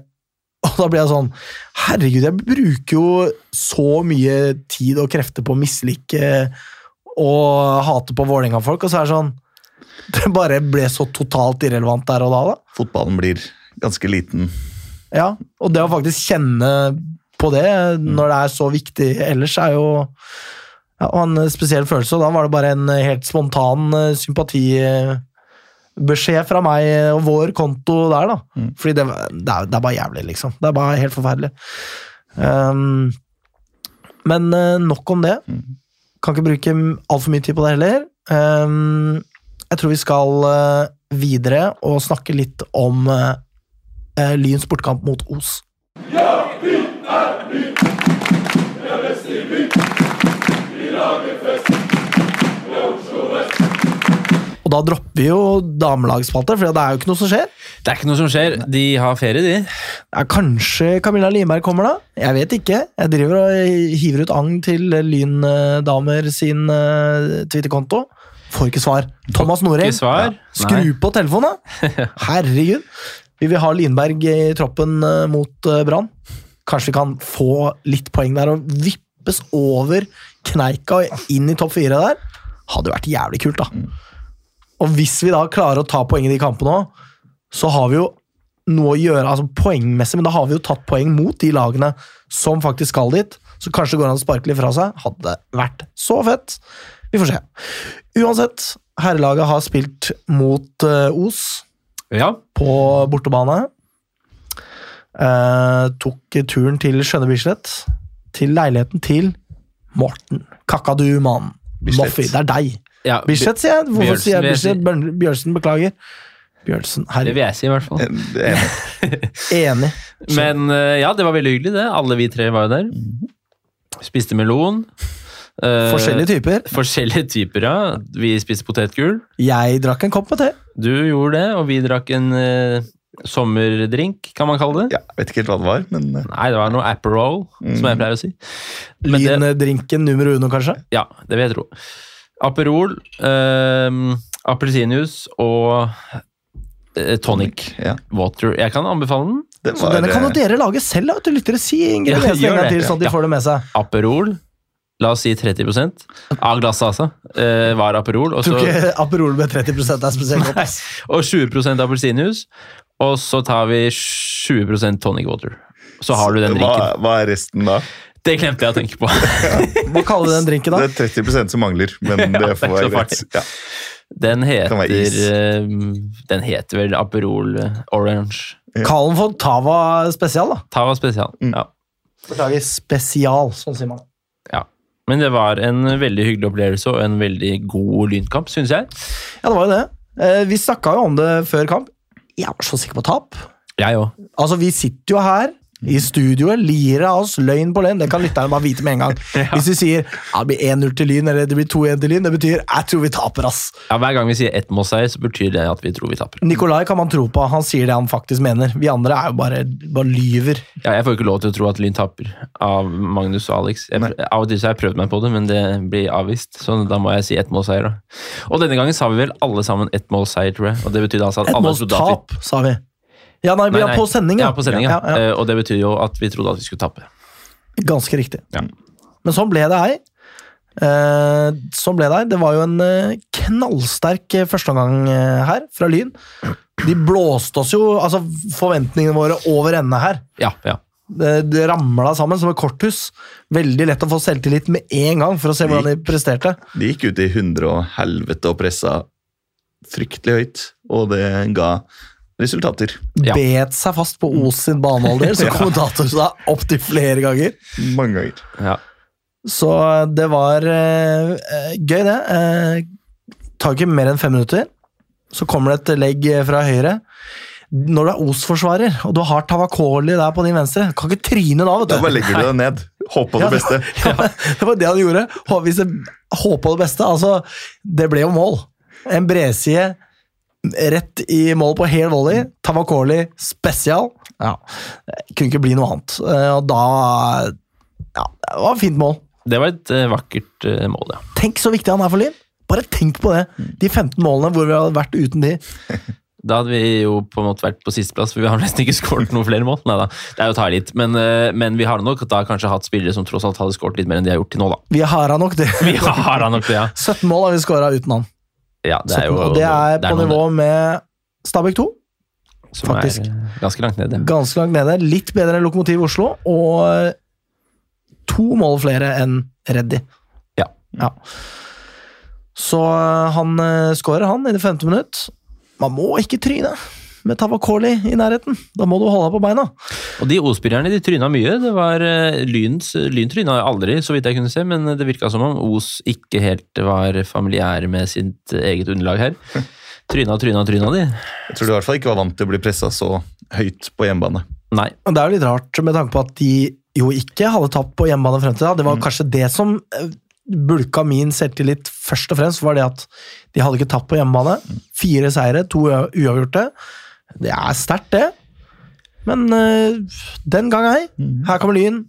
Speaker 1: og da ble jeg sånn Herregud, jeg bruker jo så mye tid og krefter på å mislike og hate på Vålerenga-folk, og så er det sånn <laughs> Det bare ble så totalt irrelevant der og da, da.
Speaker 3: Fotballen blir ganske liten.
Speaker 1: Ja, og det å faktisk kjenne på det når det er så viktig ellers, er jo ja, og en spesiell følelse. Og da var det bare en helt spontan eh, sympatibeskjed fra meg eh, og vår konto der, da. Fordi det, var- det, er, det er bare jævlig, liksom. Det er bare helt forferdelig. Um, men eh, nok om det. Kan ikke bruke altfor mye tid på det heller. Um, jeg tror vi skal eh, videre og snakke litt om eh, eh, Lyns bortkamp mot Os. Og da dropper vi jo damelagsspalter, for det er jo ikke noe som skjer.
Speaker 2: Det er ikke noe som skjer. De har ferie, de.
Speaker 1: Ja, kanskje Camilla Lienberg kommer, da? Jeg vet ikke. Jeg driver og hiver ut agn til Lyn eh, damer sin eh, Twitter-konto. Får ikke svar. Thomas Norheim,
Speaker 2: Ikke svar. Nei.
Speaker 1: skru på telefonen,
Speaker 2: <laughs>
Speaker 1: da! Herregud. Vi vil ha Lienberg i troppen eh, mot eh, Brann. Kanskje vi kan få litt poeng der og vippes over kneika og inn i topp fire der. Hadde vært jævlig kult,
Speaker 2: Mm.
Speaker 1: da. Og hvis vi da klarer å ta poeng i de kampene òg, så har vi jo noe å gjøre altså poengmessig, men da har vi jo tatt poeng mot de lagene som faktisk skal dit. Så kanskje det går an å sparke litt fra seg. Hadde vært så fett. Vi får se. Uansett, herrelaget har spilt mot eh, Os
Speaker 2: Ja.
Speaker 1: på bortebane. Eh, tok turen til Skjønne Bislett. Til leiligheten til Morten Kakadu-mannen.
Speaker 3: Bislett.
Speaker 1: Moffi, det er deg.
Speaker 2: ja.
Speaker 1: Bislett, sier jeg. Hvorfor
Speaker 2: Bjørnsen,
Speaker 1: sier
Speaker 2: vil
Speaker 1: jeg
Speaker 2: jeg si.
Speaker 1: Bislett? Bjørn- Bjørnsen, beklager. Bjørnsen,
Speaker 2: Det
Speaker 1: herre.
Speaker 2: vil jeg si, i hvert fall.
Speaker 3: Eh, det er-
Speaker 1: Enig.
Speaker 2: Men eh, ja, det var veldig hyggelig, det. Alle vi tre var jo der. Spiste melon. Eh,
Speaker 1: Forskjellige typer.
Speaker 2: forskjellige typer, ja. Vi spiste potetgull.
Speaker 1: Jeg drakk en kopp med te.
Speaker 2: Du gjorde det, og vi drakk en eh, sommerdrink, kan man kalle det.
Speaker 3: Ja, vet ikke helt hva det var, men eh,
Speaker 2: Nei, det var noe Aperol, som
Speaker 1: Mm.
Speaker 2: jeg pleier å si. Men det,
Speaker 1: Lindrinken nummer uno, kanskje?
Speaker 2: ja, det vil jeg tro. Aperol, eh, appelsinjuice og eh, tonic
Speaker 3: ja.
Speaker 2: water. Jeg kan anbefale den.
Speaker 3: Det
Speaker 1: Så denne kan jo
Speaker 3: eh,
Speaker 1: dere lage selv, da, vet du. Lyttere, si ingrediensene
Speaker 2: Ja, gjør
Speaker 1: en gang
Speaker 2: det.
Speaker 1: til, sånn at de
Speaker 2: Ja.
Speaker 1: får det med seg.
Speaker 2: Aperol, la oss si 30 av glasset, altså, eh, var Aperol. Og,
Speaker 1: Tror
Speaker 2: så,
Speaker 1: ikke Aperol med 30 er spesielt godt. ass.
Speaker 2: og 20 appelsinjuice. Og så tar vi 20 tonic water. Så har du den drinken.
Speaker 3: Hva, hva er resten da?
Speaker 2: Det glemte jeg å tenke på.
Speaker 5: <laughs>
Speaker 1: Hva kaller du den drinken,
Speaker 3: <laughs>
Speaker 5: Det
Speaker 1: da?
Speaker 5: er 30 som mangler,
Speaker 1: <laughs>
Speaker 5: men det får være
Speaker 2: det er så
Speaker 5: greit.
Speaker 2: farlig.
Speaker 5: Ja.
Speaker 2: Den heter
Speaker 5: Kan være is.
Speaker 2: eh, Den heter vel Aperol Orange.
Speaker 1: Kall den for Tava spesial, da.
Speaker 2: Tava spesial.
Speaker 5: Mm.
Speaker 2: Ja.
Speaker 1: Beklager, spesial, sånn sier man.
Speaker 2: ja. Men det var en veldig hyggelig opplevelse og en veldig god lynkamp, syns jeg.
Speaker 1: Ja, det var jo det. Eh, Vi snakka jo om det før kamp. Jeg var så sikker på tap.
Speaker 2: Jeg òg.
Speaker 1: Altså, vi sitter jo her i studioet, lirer av oss løgn på løgn. Det kan lytterne bare vite med
Speaker 2: <laughs>
Speaker 1: en gang. Hvis vi sier ja, det blir 1-0 til Lyn, eller det blir 2-1 til Lyn, det betyr jeg tror vi taper, ass.
Speaker 2: Ja, hver gang vi sier ett Moss her, så betyr det at vi tror vi taper.
Speaker 1: Nikolai kan man tro på, han sier det han faktisk mener. Vi andre er jo bare, bare lyver.
Speaker 2: Ja, jeg får jo ikke lov til å tro at Lyn taper av Magnus og Alex. Jeg, av og til så har jeg prøvd meg på det, men det blir avvist. Så da må jeg si ett målseier, da. Og denne gangen sa vi vel alle sammen ett målseier, tror jeg. Og det betydde altså at
Speaker 1: Et
Speaker 2: alle
Speaker 1: måls
Speaker 2: trodde at
Speaker 1: tap,
Speaker 2: vi
Speaker 1: sa vi. Ja, nei, vi er
Speaker 2: Nei, nei.
Speaker 1: på sending,
Speaker 2: Ja, på sending,
Speaker 1: Ja,
Speaker 2: ja.
Speaker 1: ja.
Speaker 2: Eh, Og det betyr jo at vi trodde at vi skulle tape.
Speaker 1: Ganske riktig.
Speaker 2: Ja.
Speaker 1: Men sånn ble det ei. Eh, sånn ble det ei. Det var jo en eh, knallsterk eh, førsteomgang eh, her, fra Lyn. De blåste oss jo, altså forventningene våre, over ende her.
Speaker 2: Ja, ja.
Speaker 1: Det, det ramla sammen som et korthus. Veldig lett å få selvtillit med en gang, for å se hvordan de presterte.
Speaker 3: De gikk ut i hundre og helvete og pressa fryktelig høyt, og det ga resultater.
Speaker 2: Ja.
Speaker 1: Bet seg fast på Os sin banehalvdel, som kommentator sa opptil flere ganger.
Speaker 5: Mange ganger.
Speaker 2: ja.
Speaker 1: Så det var eh, eh, gøy, det. Eh, tar ikke mer enn fem minutter. Så kommer det et legg fra høyre. Når du er Os-forsvarer, og du har Tavakoli der på din venstre Kan ikke tryne da, vet
Speaker 5: Da
Speaker 1: du.
Speaker 5: bare legger du deg ned. Håper på
Speaker 1: <laughs> Ja,
Speaker 5: det beste.
Speaker 1: det var det han gjorde. Hå- Hvis jeg håpa det beste. Altså, det ble jo mål. En bredside rett i mål på hel volley. Tavakoli spesial. Ja. Det Kunne ikke bli noe annet. Eh, Og da Ja, det var et fint mål.
Speaker 2: Det var et eh, vakkert eh, mål, ja.
Speaker 1: Tenk så viktig han er for Lyn! Bare tenk på det! De 15 målene hvor vi hadde vært uten de.
Speaker 2: Da hadde vi jo på en måte vært på sisteplass, for vi har nesten ikke <laughs> skåret noen flere mål. Neida, det er jo å ta i litt, men, eh, men vi har nok da kanskje hatt spillere som tross alt hadde skåret litt mer enn de har gjort til nå, da.
Speaker 1: Vi har han nok, det.
Speaker 2: <laughs> Vi
Speaker 1: <laughs>
Speaker 2: har da nok det, ja.
Speaker 1: 17 mål har vi skåra uten han.
Speaker 2: ja det er jo,
Speaker 1: 17, og det er på
Speaker 2: noe
Speaker 1: nivå med Stabæk 2.
Speaker 2: som er,
Speaker 1: faktisk.
Speaker 2: eh, ganske langt nede.
Speaker 1: Ganske langt nede. Litt bedre enn Lokomotiv Oslo, og eh, to mål flere enn Reddy.
Speaker 2: Ja.
Speaker 1: Så han eh, skårer, han, i det femte minutt. Man må ikke tryne med Tavakoli i nærheten. Da må du holde deg på beina.
Speaker 2: Og de Os-spillerne de tryna mye. Det var eh, Lyns, Lyn tryna aldri, så vidt jeg kunne se, men det virka som om Os ikke helt var familiære med sitt eget underlag her. Tryna, tryna, tryna de.
Speaker 3: Jeg tror du i hvert fall ikke var vant til å bli pressa så høyt på hjemmebane.
Speaker 2: Nei.
Speaker 1: Men Det er jo litt rart med tanke på at de jo ikke hadde tapt på hjemmebane frem til da. Det var kanskje det som eh, bulka min selvtillit først og fremst, var det at de hadde ikke tapt på hjemmebane. Fire seire, to ua- uavgjorte. Det er sterkt, det. Men eh, den gang ei. Her kommer Lyn.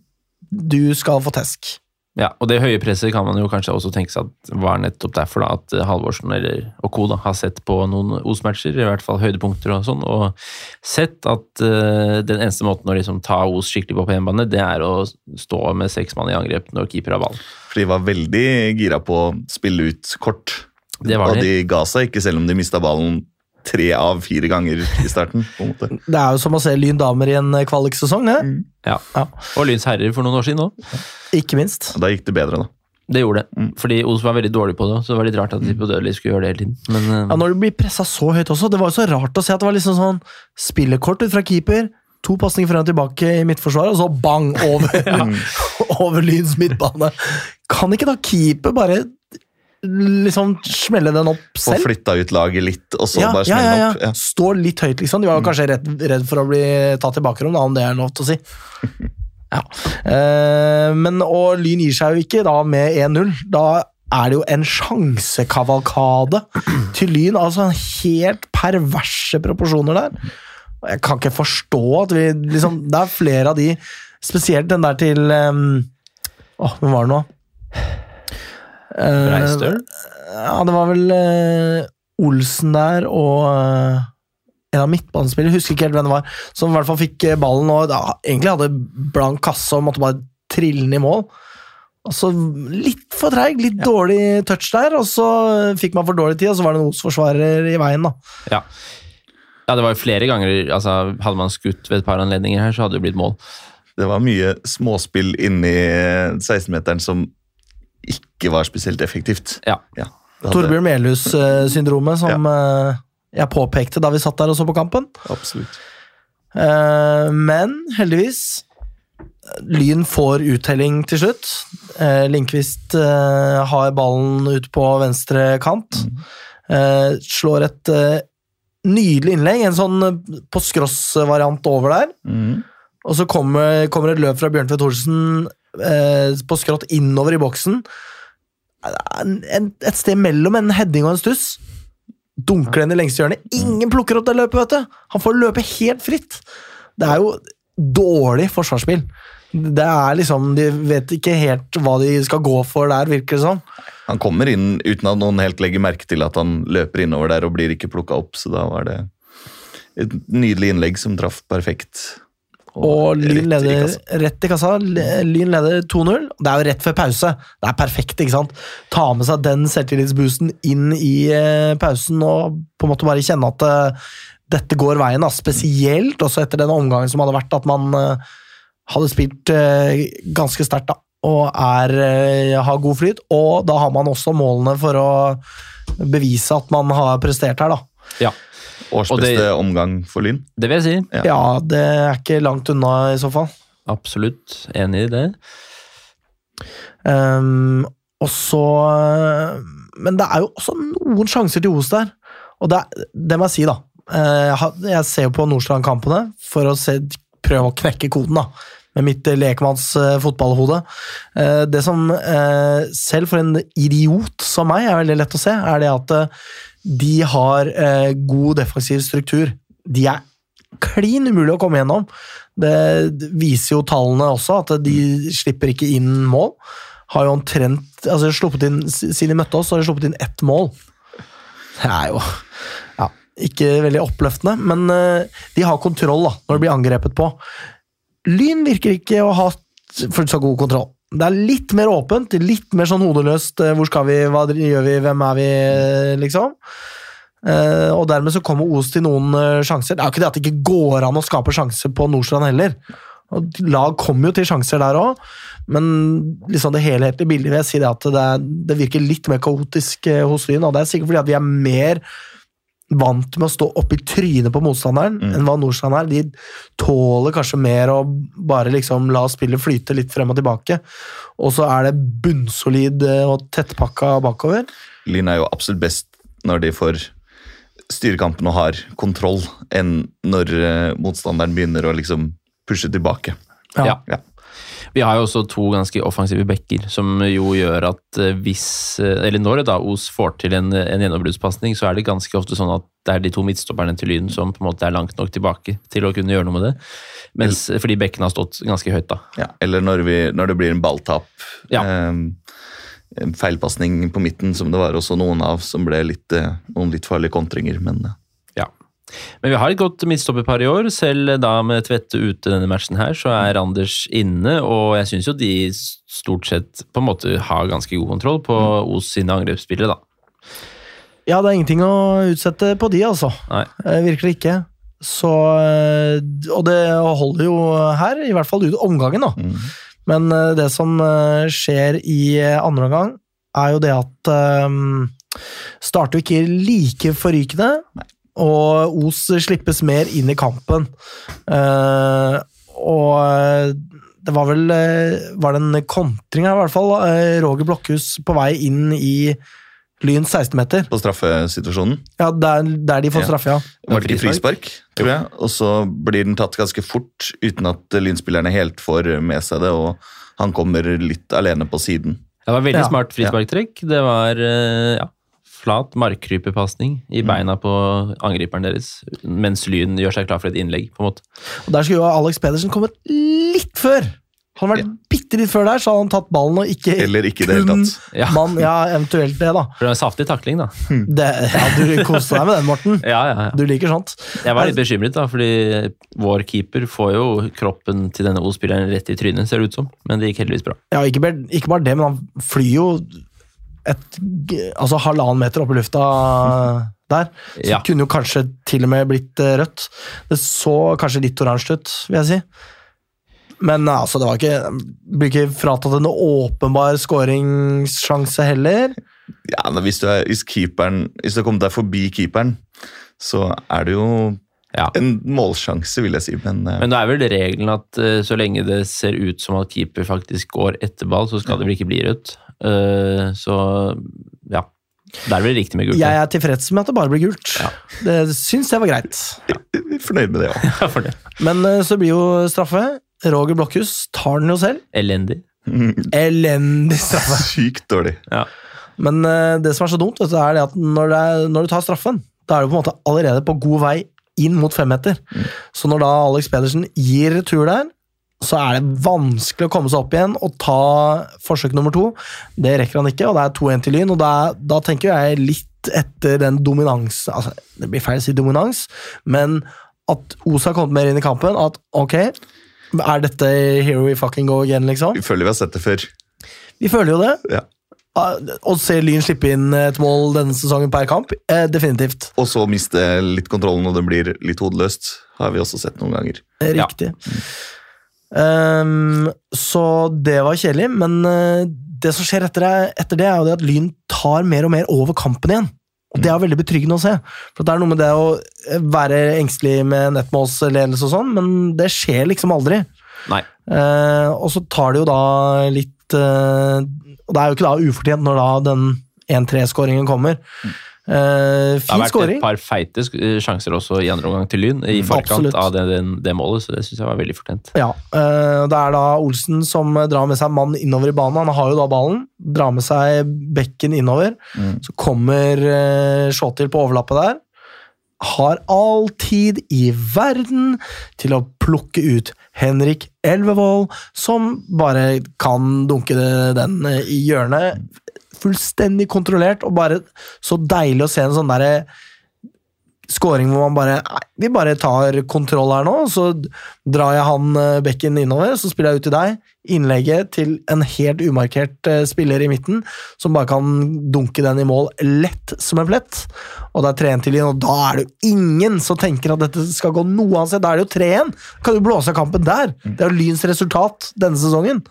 Speaker 1: Du skal få tesk.
Speaker 2: Ja, og det høye presset kan man jo kanskje også tenke seg at var nettopp derfor da, at eh, Halvorsen eller, og co. Da, har sett på noen Os-matcher, i hvert fall høydepunkter og sånn, og sett at eh, den eneste måten å liksom ta Os skikkelig på på hjemmebane, det er å stå med seks mann i angrep når keeper har ballen.
Speaker 3: For de var veldig gira på å spille ut kort.
Speaker 2: Det var
Speaker 3: og
Speaker 2: de.
Speaker 3: de ga seg ikke, selv om de mista ballen tre av fire ganger i starten. på en måte.
Speaker 1: Det er jo som å se Lyn damer i en eh, kvaliksesong, det.
Speaker 2: Ja.
Speaker 1: Ja.
Speaker 2: Og Lyns herrer for noen år siden òg.
Speaker 1: Ikke minst.
Speaker 3: Og Da gikk det bedre, da.
Speaker 2: Det gjorde det. Fordi Os var veldig dårlig på det, så det var litt rart at de på Dødelig skulle gjøre det hele tiden. Men eh,
Speaker 1: Ja, når du blir pressa så høyt også, det var jo så rart å se at det var liksom sånn spillekort ut fra keeper, to pasninger frem og tilbake i midtforsvaret, og så bang, over, over Lyns midtbane. Kan ikke da keeper bare liksom smelle den opp
Speaker 3: Få
Speaker 1: selv?
Speaker 3: flytta ut laget litt, og så
Speaker 1: Ja,
Speaker 3: bare
Speaker 1: ja,
Speaker 3: smelle
Speaker 1: ja, ja.
Speaker 3: opp. Ja.
Speaker 1: Stå litt høyt, liksom. De var jo kanskje redd, redd for å bli tatt i bakrom, da, om det er lov
Speaker 3: <laughs>
Speaker 1: til å si. Ja. Eh, men og Lyn gir seg jo ikke da med 1-0. Da er det jo en sjansekavalkade til Lyn. Altså helt perverse proporsjoner der. Og jeg kan ikke forstå at vi liksom Det er flere av de, spesielt den der til ehm, Åh, hvem var det nå? Eh,
Speaker 2: Breistøl?
Speaker 1: ja, det var vel eh, Olsen der og eh, en av midtbanespillerne, husker ikke helt hvem det var, som i hvert fall fikk eh, ballen og da, egentlig hadde blank kasse og måtte bare trille den i mål. Og så litt for treig, litt dårlig touch der, og så eh, fikk man for dårlig tid, og så var det en Os-forsvarer i veien, da.
Speaker 2: ja. ja, det var jo flere ganger altså, Hadde man skutt ved et par anledninger her, så hadde det blitt mål.
Speaker 3: Det var mye småspill inni 16-meteren som ikke var spesielt effektivt.
Speaker 2: Ja.
Speaker 3: det hadde-
Speaker 1: Torbjørn Melhus-syndromet, som eh, jeg påpekte da vi satt der og så på kampen.
Speaker 3: Absolutt.
Speaker 1: Eh, men heldigvis Lyn får uttelling til slutt. Uh, Linkvist eh, har ballen ut på venstre kant. Eh, slår et eh, nydelig innlegg, en sånn eh, på skross-variant over der.
Speaker 5: Mm.
Speaker 1: Og så kommer, kommer et løp fra Bjørntveit Thorsen eh, på skrått innover i boksen. En, en, et sted mellom en heading og en stuss. Dunker den i lengste hjørnet. Ingen plukker opp det løpet, vet du! Han får løpe helt fritt. Det er jo dårlig forsvarsspill. Det er liksom, De vet ikke helt hva de skal gå for der, virker det som.
Speaker 3: Han kommer inn uten at noen helt legger merke til at han løper innover der og blir ikke plukka opp, så da var det et nydelig innlegg som traff perfekt.
Speaker 1: Og Lyn
Speaker 3: rett i
Speaker 1: leder
Speaker 3: kassa.
Speaker 1: rett i kassa. L- Lyn leder 2-0. Det er jo rett før pause. Det er perfekt, ikke sant? Ta med seg den selvtillitsboosten inn i eh, pausen og på en måte bare kjenne at eh, dette går veien. Da. Spesielt også etter den omgangen som hadde vært, at man eh, hadde spilt eh, ganske sterkt da, og er, eh, har god flyt. Og da har man også målene for å bevise at man har prestert her, da.
Speaker 2: Ja,
Speaker 3: Års
Speaker 2: Og det-
Speaker 3: beste omgang for Lyn.
Speaker 2: det vil jeg si.
Speaker 3: Ja.
Speaker 1: Ja, det er ikke langt unna i så fall.
Speaker 2: Absolutt enig i det.
Speaker 1: Ehm, og så Men det er jo også noen sjanser til Os der. Og det, er- det må jeg si, da. Eh, jeg har- Jeg ser jo på Nordstrand-kampene for å se, prøve å knekke koden, da. Med mitt eh, lekmanns eh, fotballhode. Eh, Det som eh, selv for en idiot som meg er veldig lett å se, er det at eh, de har eh, god defensiv struktur. De er klin umulig å komme gjennom. Det viser jo tallene også, at de slipper ikke inn mål. Har jo omtrent altså sluppet inn, Siden de møtte oss, så har de sluppet inn ett mål. Det er jo ja, ikke veldig oppløftende, men eh, de har kontroll da, når de blir angrepet på. Lyn virker ikke å ha t- for så god kontroll. Det er litt mer åpent, litt mer sånn hodeløst. eh, Hvor skal vi, hva dri- gjør vi, hvem er vi, eh, liksom. Eh, og dermed så kommer Os til noen eh, sjanser. Det er jo ikke det at det ikke går an å skape sjanser på Nordstrand heller. Og lag kommer jo til sjanser der òg, men liksom det helhetlige bildet vil jeg si det at det, er, det virker litt mer kaotisk eh, hos Lyn. Og det er sikkert fordi at vi er mer vant med å stå oppi trynet på motstanderen enn hva Nordstrand er. De tåler kanskje mer å bare liksom la spillet flyte litt frem og tilbake. Og så er det bunnsolid eh, og tettpakka bakover.
Speaker 3: Lyn er jo absolutt best når de får styrekampen og har kontroll, enn når eh, motstanderen begynner å liksom pushe tilbake.
Speaker 1: Ja.
Speaker 2: Ja. Vi har jo også to ganske offensive backer, som jo gjør at eh, hvis eh, Eller når da Os får til en, en gjennombruddspasning, så er det ganske ofte sånn at det er de to midtstopperne til Lyn som på en måte er langt nok tilbake til å kunne gjøre noe med det. Mens, eh, fordi bekkene har stått ganske høyt, da.
Speaker 3: Ja. Eller når, vi, når det blir en balltap.
Speaker 2: Ja.
Speaker 3: ehm, en feilpasning på midten, som det var også noen av, som ble litt, eh, noen litt farlige kontringer. Men eh,
Speaker 2: Ja. Men vi har et godt midtstopperpar i år. Selv eh, da med Tvette ute denne matchen her, så er Anders inne, og jeg syns jo de stort sett på en måte har ganske god kontroll på Os sine angrepsspillere, da.
Speaker 1: Ja, det er ingenting å utsette på de, altså.
Speaker 2: Nei.
Speaker 1: Eh, Virker det ikke. Så eh, Og det holder jo her, i hvert fall ut omgangen, da.
Speaker 3: mm.
Speaker 1: Men eh, det som eh, skjer i eh, andre omgang, er jo det at eh, Starter jo ikke like forrykende, og Os slippes mer inn i kampen. Eh, og eh, det var vel eh, Var det en kontring her, i hvert fall? eh, Roger Blokhus på vei inn i Lyns 16-meter.
Speaker 3: på straffesituasjonen
Speaker 1: Ja, der, der de får
Speaker 3: Ja.
Speaker 1: straffe, ja.
Speaker 3: var det ikke frispark, tror jeg. Og så blir den tatt ganske fort, uten at eh, lynspillerne helt får med seg det. og han kommer litt alene på siden.
Speaker 2: Det var veldig
Speaker 1: Ja.
Speaker 2: smart frisparktrekk. Det var eh, ja, flat markkrypepasning i beina på angriperen deres, mens Lyn gjør seg klar for et innlegg, på en måte.
Speaker 1: Og der skulle jo Alex Pedersen kommet litt før! Han hadde vært bitte litt før der, så hadde han tatt ballen og ikke
Speaker 3: Eller ikke i det hele
Speaker 1: kun
Speaker 3: tatt.
Speaker 2: Ja,
Speaker 1: Mann, ja, eventuelt det, da.
Speaker 2: for det var en saftig takling, da.
Speaker 1: Det, ja, du koste deg med den, Morten.
Speaker 2: Ja, ja, Altså- ja.
Speaker 1: Du liker sånt.
Speaker 2: Jeg var litt bekymret, da, fordi vår keeper får jo kroppen til denne O-spilleren rett i trynet, ser det ut som. Men det gikk heldigvis bra.
Speaker 1: Ja, ikke, bare- ikke bare det, men han flyr jo et g- altså halvannen meter opp i lufta der. Så
Speaker 2: Ja.
Speaker 1: det kunne jo kanskje til og med blitt eh, rødt. Det så kanskje litt oransje ut, vil jeg si. Men altså, det var ikke Blir ikke fratatt en åpenbar skåringssjanse heller.
Speaker 3: Ja, men hvis du, er, hvis, keeperen, hvis du har kommet deg forbi keeperen, så er det jo
Speaker 2: Ja.
Speaker 3: en målsjanse, vil jeg si. Men, eh,
Speaker 2: Men da er vel regelen at eh, så lenge det ser ut som at keeper faktisk går etter ball, så skal det vel ikke bli rødt. Eh, så ja. Da er det vel riktig med gult.
Speaker 1: Jeg er tilfreds med at det bare blir gult. Det syns jeg var greit.
Speaker 3: jeg er fornøyd med det <laughs> òg.
Speaker 2: Ja, <laughs> for det.
Speaker 1: Men eh, så blir jo straffe. Roger Blokhus tar den jo selv.
Speaker 2: Elendig.
Speaker 1: Elendig straffe.
Speaker 3: Sykt dårlig.
Speaker 2: Ja.
Speaker 1: Men eh, det som er så dumt, vet du, er det at når, det er, når du tar straffen, da er du på en måte allerede på god vei inn mot femmeter. Så når da Alex Pedersen gir retur der, så er det vanskelig å komme seg opp igjen og ta forsøk nummer to. Det rekker han ikke, og det er 2-1 til Lyn. og da, da tenker jeg litt etter den dominans altså, Det blir feil å si dominans, men at Osa har kommet mer inn i kampen. At ok, er dette here we fucking go again, liksom?
Speaker 3: Vi føler vi har sett det før.
Speaker 1: Vi føler jo det.
Speaker 3: Ja.
Speaker 1: Ah, Å se Lyn slippe inn et mål denne sesongen per kamp, eh, definitivt.
Speaker 3: Og så miste litt kontrollen, og det blir litt hodeløst. Har vi også sett noen ganger.
Speaker 1: Eh,
Speaker 2: Ja.
Speaker 1: Riktig. Ehm, så det var kjedelig, men eh, det som skjer etter det, etter det, er jo det at Lyn tar mer og mer over kampen igjen. Og Det er veldig betryggende å se. For Det er noe med det å eh, være engstelig med nettmålsledelse og sånn, men det skjer liksom aldri.
Speaker 2: Nei.
Speaker 1: Eh, og så tar det jo da litt eh, Og det er jo ikke da ufortjent når da den 1-3-skåringen kommer. Eh,
Speaker 2: Mm. Det har
Speaker 1: fin
Speaker 2: vært
Speaker 1: skåring.
Speaker 2: et par feite sk- eh, sjanser også i andre omgang til Lyn, i forkant
Speaker 1: Absolutt.
Speaker 2: av det, den- det målet, så det syns jeg var veldig fortjent.
Speaker 1: Ja, eh, Det er da Olsen som drar med seg en mann innover i banen. Han har jo da ballen. Drar med seg bekken innover. Så kommer eh, Shawtil på overlappet der. Har all tid i verden til å plukke ut Henrik Elvevold, som bare kan dunke det- den eh, i hjørnet. Fullstendig kontrollert, og bare så deilig å se en sånn derre scoring hvor man bare Nei, vi bare tar kontroll her nå, så drar jeg han eh, bekken innover, så spiller jeg ut til deg. Innlegget til en helt umarkert eh, spiller i midten, som bare kan dunke den i mål lett som en plett. Og det er 3-1 til Lyn, og da er det jo ingen som tenker at dette skal gå noe annet sted. Da er det jo 3-1! Kan du blåse av kampen der? Det er jo Lyns resultat denne sesongen.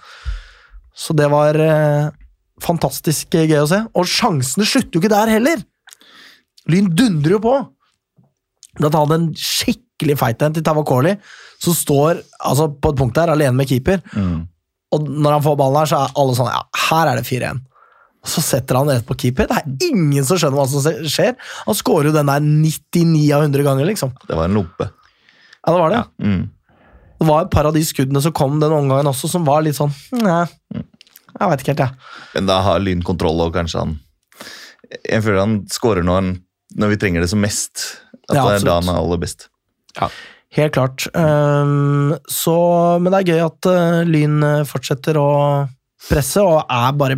Speaker 1: Så det var eh, fantastisk gøy å se. Og sjansene slutter jo ikke der heller! Lyn dundrer jo på! Blant annet en skikkelig feit en til Tavakoli, som står altså, på et punkt der alene med keeper.
Speaker 3: Mm.
Speaker 1: Og når han får ballen her, så er alle sånn Ja, her er det 4-1. Og Så setter han rett på keeper. Det er ingen som skjønner hva som se- skjer. Han skårer jo den der 99 av 100 ganger, liksom.
Speaker 3: Det var en lompe.
Speaker 1: Ja, det var det.
Speaker 3: Mm.
Speaker 1: Det var et par av de skuddene som kom den omgangen også, som var litt sånn Nei, jeg veit ikke helt, jeg.
Speaker 3: Men da har Lyn kontroll, og kanskje han Jeg føler han skårer når, han, når vi trenger det som mest. At
Speaker 1: Ja,
Speaker 3: det er da
Speaker 1: absolutt.
Speaker 3: han er aller best.
Speaker 1: Helt klart. Ehm, så, men det er gøy at eh, Lyn eh, fortsetter å presse og er bare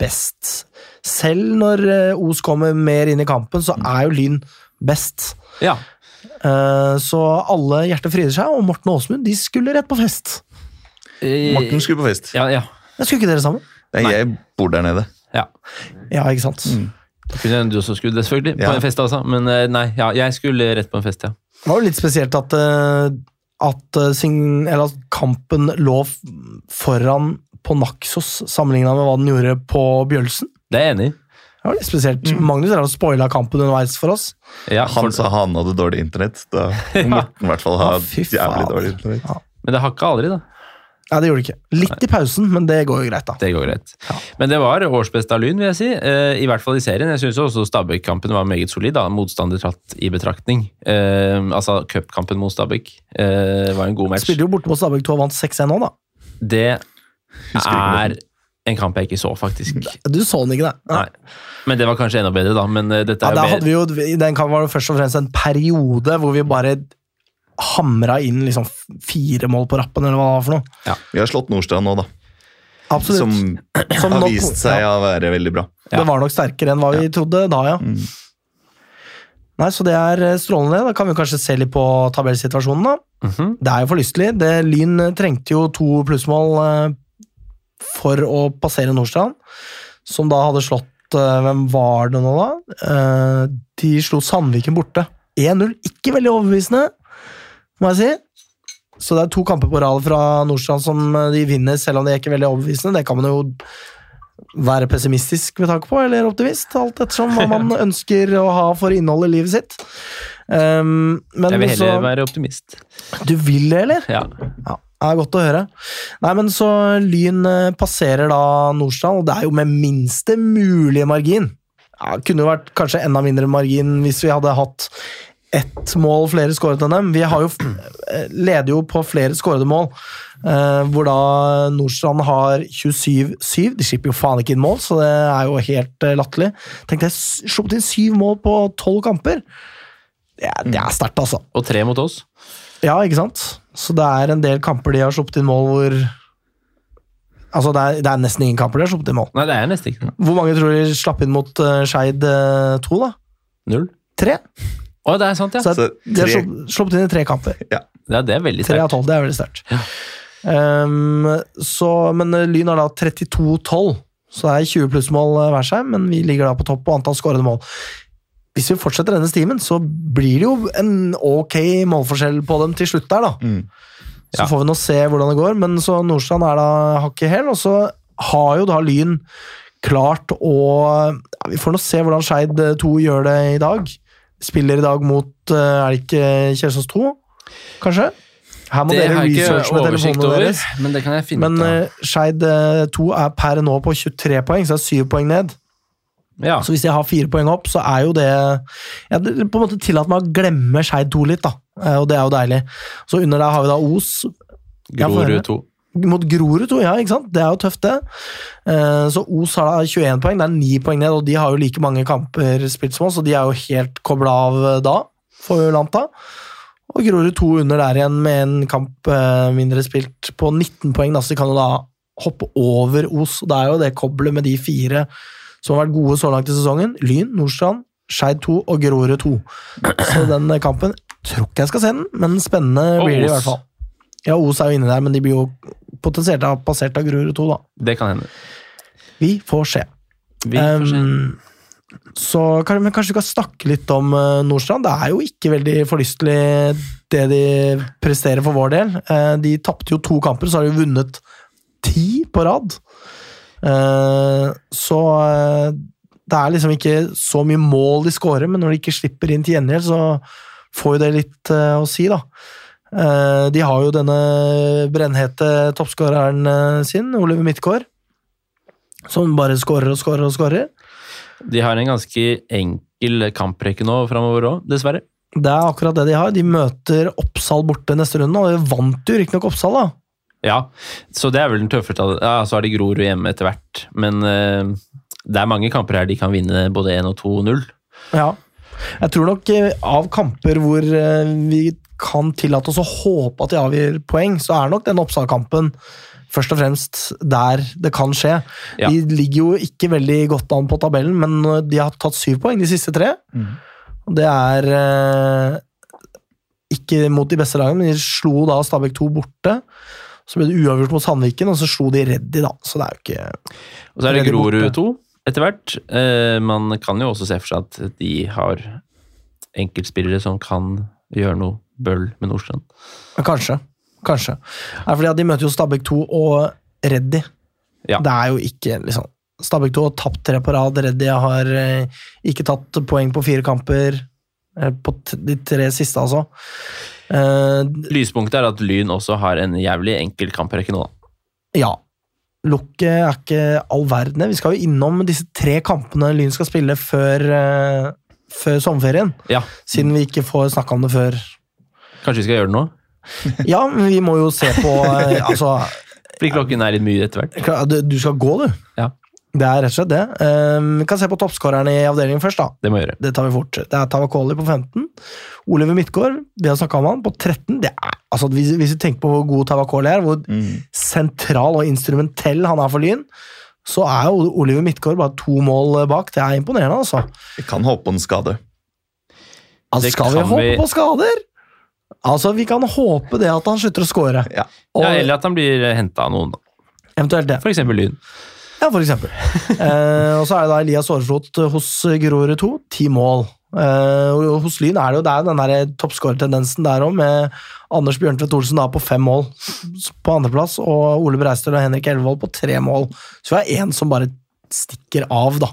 Speaker 1: best. Selv når eh, Os kommer mer inn i kampen, så er jo Lyn best.
Speaker 2: Ja.
Speaker 1: Eh, så alle hjerter fryder seg, og Morten og Åsmund de skulle rett på fest.
Speaker 2: Eh,
Speaker 3: Morten skulle på fest.
Speaker 2: Ja, ja.
Speaker 1: Jeg skulle ikke dere sammen?
Speaker 3: Nei, jeg bor der nede.
Speaker 2: ja.
Speaker 1: Ja, ikke sant?
Speaker 2: Det kunne hende du også skulle det, selvfølgelig.
Speaker 3: Ja.
Speaker 2: På en fest, altså. Men eh, nei, ja, jeg skulle rett på en fest, ja.
Speaker 1: Det var jo litt spesielt at, eh, at, eh, sign- eller at kampen lå f- foran på Naxos sammenligna med hva den gjorde på Bjølsen.
Speaker 2: Det er jeg enig i.
Speaker 1: Det var litt spesielt. Magnus har spoila kampen underveis for oss.
Speaker 2: Ja, for-
Speaker 3: Han sa han hadde dårlig internett.
Speaker 2: <laughs>
Speaker 3: Da må Morten i hvert fall ha
Speaker 1: Å, fy faen.
Speaker 3: jævlig dårlig internett.
Speaker 2: Men det hakka aldri, da.
Speaker 1: Nei, det gjorde det ikke. Litt i pausen, men det går jo greit, da.
Speaker 2: Det går greit. Men det var årsbest av Lyn, vil jeg si. Eh, I hvert fall i serien. Jeg syns også Stabæk-kampen var meget solid, da. motstander tatt i betraktning. Eh, altså cupkampen mot Stabæk eh, var en god match.
Speaker 1: Spiller jo borte mot Stabæk 2 og vant 6-1 nå, da.
Speaker 2: Det
Speaker 3: ikke
Speaker 2: er en kamp jeg ikke så, faktisk.
Speaker 1: Du så den ikke, det.
Speaker 2: Nei. Men det var kanskje enda bedre, da. Men eh, dette
Speaker 1: Ja,
Speaker 2: er
Speaker 1: der
Speaker 2: jo
Speaker 1: hadde
Speaker 2: mer
Speaker 1: vi jo, I den kampen var det først og fremst en periode hvor vi bare hamra inn liksom fire mål på rappen, eller hva det var for noe.
Speaker 3: Vi har slått Nordstrand nå, da.
Speaker 1: Absolutt.
Speaker 3: Som,
Speaker 1: Som
Speaker 3: har
Speaker 1: nok-
Speaker 3: vist seg
Speaker 1: ja.
Speaker 3: å være veldig bra. Mm,
Speaker 1: Det var nok sterkere enn hva vi trodde da, ja. Nei, Så det er eh, strålende. Da kan vi kanskje se litt på tabellsituasjonen, da.
Speaker 2: Mhm.
Speaker 1: Det er jo forlystelig. Det, Lyn eh, trengte jo to plussmål eh, for å passere Nordstrand, som da hadde slått eh, Hvem var det nå, da? Eh, De slo Sandviken borte. 1-0. Ikke veldig overbevisende, må jeg si. Så det er to kamper på rad fra Nordstrand som eh, de vinner, selv om de er ikke veldig overbevisende. Det kan man jo være pessimistisk med tanke på, eller optimist, alt ettersom hva
Speaker 2: <laughs>
Speaker 1: man ønsker å ha for innhold i livet sitt. Um, men
Speaker 2: Jeg vil
Speaker 1: så,
Speaker 2: heller være optimist.
Speaker 1: Du vil det, eller?
Speaker 2: Ja.
Speaker 1: Ja, det er godt å høre. Nei, men så Lyn eh, passerer da Nordstrand, og det er jo med minste mulige margin. Ja, det kunne jo vært kanskje enda mindre margin hvis vi hadde hatt ett mål flere skåret enn dem. Vi har jo, eh, leder jo på flere skårede mål, eh, hvor da Nordstrand har 27-7. De slipper jo faen ikke inn mål, så det er jo helt eh, latterlig. Tenk deg, s- sluppet inn syv mål på tolv kamper. Det er, det er sterkt, altså.
Speaker 2: Og tre mot oss.
Speaker 1: Ja, ikke sant? Så det er en del kamper de har sluppet inn mål hvor Altså, det er, det er nesten ingen kamper de har sluppet inn mål.
Speaker 2: Nei, det er nesten ikke det.
Speaker 1: Hvor mange tror de slapp inn mot uh, Skeid 2, da?
Speaker 2: null.
Speaker 1: Tre?
Speaker 2: Å, det er sant, ja.
Speaker 1: Så det,
Speaker 5: Så
Speaker 1: de har
Speaker 5: tre-
Speaker 1: slupp- sluppet inn i tre kamper.
Speaker 2: Ja, det er veldig
Speaker 1: Tre av
Speaker 2: sterkt.
Speaker 1: tolv, det er veldig sterkt. Um, så- men eh, Lyn har da 32-12, så det er 20 plussmål eh, hver seg, men vi ligger da på topp på antall skårede mål. Hvis vi fortsetter denne stimen, så blir det jo en ok målforskjell på dem til slutt der, da.
Speaker 5: Mm.
Speaker 1: Så
Speaker 2: Ja.
Speaker 1: får vi nå se hvordan det går, men så Nordstrand er da hakket hel, og så har jo da Lyn klart å ja, Vi får nå se hvordan Skeid 2 gjør det i dag. Spiller i dag mot eh, Er det ikke Kjelsås 2, kanskje? Her må
Speaker 2: Det
Speaker 1: dere
Speaker 2: har jeg
Speaker 1: researche
Speaker 2: ikke
Speaker 1: med
Speaker 2: oversikt
Speaker 1: telefonene
Speaker 2: over,
Speaker 1: deres.
Speaker 2: men det kan jeg finne
Speaker 1: Men
Speaker 2: ut av.
Speaker 1: eh, Skeid eh, 2 er per nå på 23 poeng, så det er 7 poeng ned.
Speaker 2: Ja.
Speaker 1: Så hvis jeg har fire poeng opp, så er jo det Jeg har på en måte tillatt meg å glemme Skeid 2 litt, da. Eh, Og det er jo deilig. Så under der har vi da Os, Ja, få høre.
Speaker 2: Grorud 2.
Speaker 1: mot Grorud, tror jeg. ikke sant? Det er jo tøft, det. Eh, Så Os har da 21 poeng, det er 9 poeng ned, og de har jo like mange kamper spilt som oss, og de er jo helt kobla av eh, da, for Lanta. Og Grorud 2 under der igjen med en kamp eh, mindre spilt på 19 poeng, da, så de kan jo da hoppe over Os. og Det er jo det koblet med de fire som har vært gode så langt i sesongen. Lyn, Nordstrand, Skeid 2 og Grorud 2. Så den eh, kampen tror ikke jeg skal se den, men spennende
Speaker 2: Og
Speaker 1: blir det i
Speaker 2: Os.
Speaker 1: hvert fall. Ja, Os er jo inne der, men de blir jo potensielt da passert av Grorud 2, da.
Speaker 2: Det kan hende.
Speaker 1: Vi får se.
Speaker 2: Vi får se.
Speaker 1: Um, så kan- men kanskje vi kan snakke litt om eh, Nordstrand. Det er jo ikke veldig forlystelig det de presterer for vår del. Eh, de tapte jo to kamper, så har de vunnet ti på rad. Eh, så eh, det er liksom ikke så mye mål de scorer, men når de ikke slipper inn til gjengjeld, så får jo det litt eh, å si, da. Eh, de har jo denne brennhete toppskåreren eh, sin, Oliver Midtgaard, som bare skårer og skårer og skårer.
Speaker 2: De har en ganske enkel kamprekke nå framover òg, dessverre.
Speaker 1: Det er akkurat det de har. De møter Oppsal borte neste runde, og de vant jo riktignok Oppsal, da.
Speaker 2: Ja, så det er vel den tøffeste av Ja, så har de Grorud hjemme etter hvert. Men eh, det er mange kamper her de kan vinne både 1 og 2-0.
Speaker 1: Ja. Jeg tror nok eh, av kamper hvor eh, vi kan tillate oss å håpe at de avgir poeng, så er nok den Oppsal-kampen først og fremst der det kan skje.
Speaker 2: Ja.
Speaker 1: De ligger jo ikke veldig godt an på tabellen, men eh, de har tatt syv poeng de siste tre. Og Det er eh, ikke mot de beste lagene, men de slo da Stabæk 2 borte. Så ble det uavgjort mot Sandviken, og så slo de Reddy, da. Så det er jo ikke
Speaker 2: Og så er det
Speaker 1: Veldig borte.
Speaker 2: Grorud 2 etter hvert. Eh, man kan jo også se for seg at de har enkeltspillere som kan gjøre noe bøll med Nordstrand.
Speaker 1: Ja, Kanskje. Kanskje. Det er fordi at de møter jo Stabæk 2 og Reddy.
Speaker 2: Ja.
Speaker 1: Det er jo ikke liksom Stabæk 2 har tapt tre på rad. Reddy har eh, ikke tatt poeng på fire kamper. eh, På t de tre siste, altså. Eh,
Speaker 2: Lyspunktet er at Lyn også har en jævlig enkel kamprekke nå, da.
Speaker 1: ja. Lukket er ikke all verden. Vi skal jo innom disse tre kampene Lyn skal spille før, eh, før sommerferien.
Speaker 2: Ja,
Speaker 1: Siden vi ikke får snakka om det før.
Speaker 2: kanskje vi skal gjøre det nå?
Speaker 1: Ja, men vi må jo se på eh, Altså,
Speaker 2: Fordi klokken er litt mye etter hvert.
Speaker 1: Klar, Du du skal gå, du.
Speaker 2: Ja.
Speaker 1: Det er rett og slett det. Um, vi kan se på toppskårerne i avdelingen først. da.
Speaker 2: Det må jeg gjøre.
Speaker 1: Det tar vi fort. Det er Tavakoli på 15. Oliver Midtgaard, vi har snakka om han, på 13. Det er, altså, hvis, hvis vi tenker på hvor god Tavakoli er, hvor
Speaker 3: mm.
Speaker 1: sentral og instrumentell han er for Lyn, så er jo Oliver Midtgaard bare to mål bak. Det er imponerende, altså.
Speaker 5: Jeg kan håpe på en skade.
Speaker 1: altså
Speaker 2: Det
Speaker 1: skal vi
Speaker 2: kan
Speaker 1: håpe
Speaker 2: vi-
Speaker 1: på skader? Altså, Vi kan håpe det at han slutter å score.
Speaker 5: Ja.
Speaker 1: Og
Speaker 2: Ja, eller at han blir henta av noen, da.
Speaker 1: eventuelt det.
Speaker 2: For eksempel Lyn.
Speaker 1: eh, Ja, for eksempel. Eh, og så er det da Elias Aareflot hos Grorud 2. Ti mål. Eh, og hos Lyn er det jo det er jo den der eh, toppskårertendensen der òg, med Anders Bjørntvedt Olsen da på fem mål s- på andreplass, og Ole Breistøl og Henrik Elvevold på tre mål. Så vi har én som bare stikker av, da.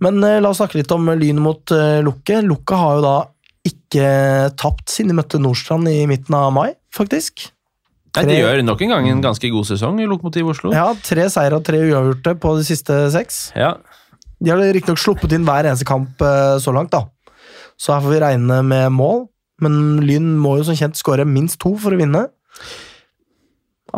Speaker 1: Men eh, la oss snakke litt om Lyn mot eh, Lukke. Lukke har jo da ikke tapt siden de møtte Nordstrand i midten av mai, faktisk.
Speaker 2: Nei, De
Speaker 1: Tre-
Speaker 2: gjør nok en gang en ganske god sesong i Lokomotiv Oslo.
Speaker 1: Ja, tre seire og tre uavgjorte på de siste seks.
Speaker 2: Ja.
Speaker 1: De har riktignok sluppet inn hver eneste kamp eh, så langt, da. Så her får vi regne med mål, men Lyn må jo som kjent skåre minst to for å vinne.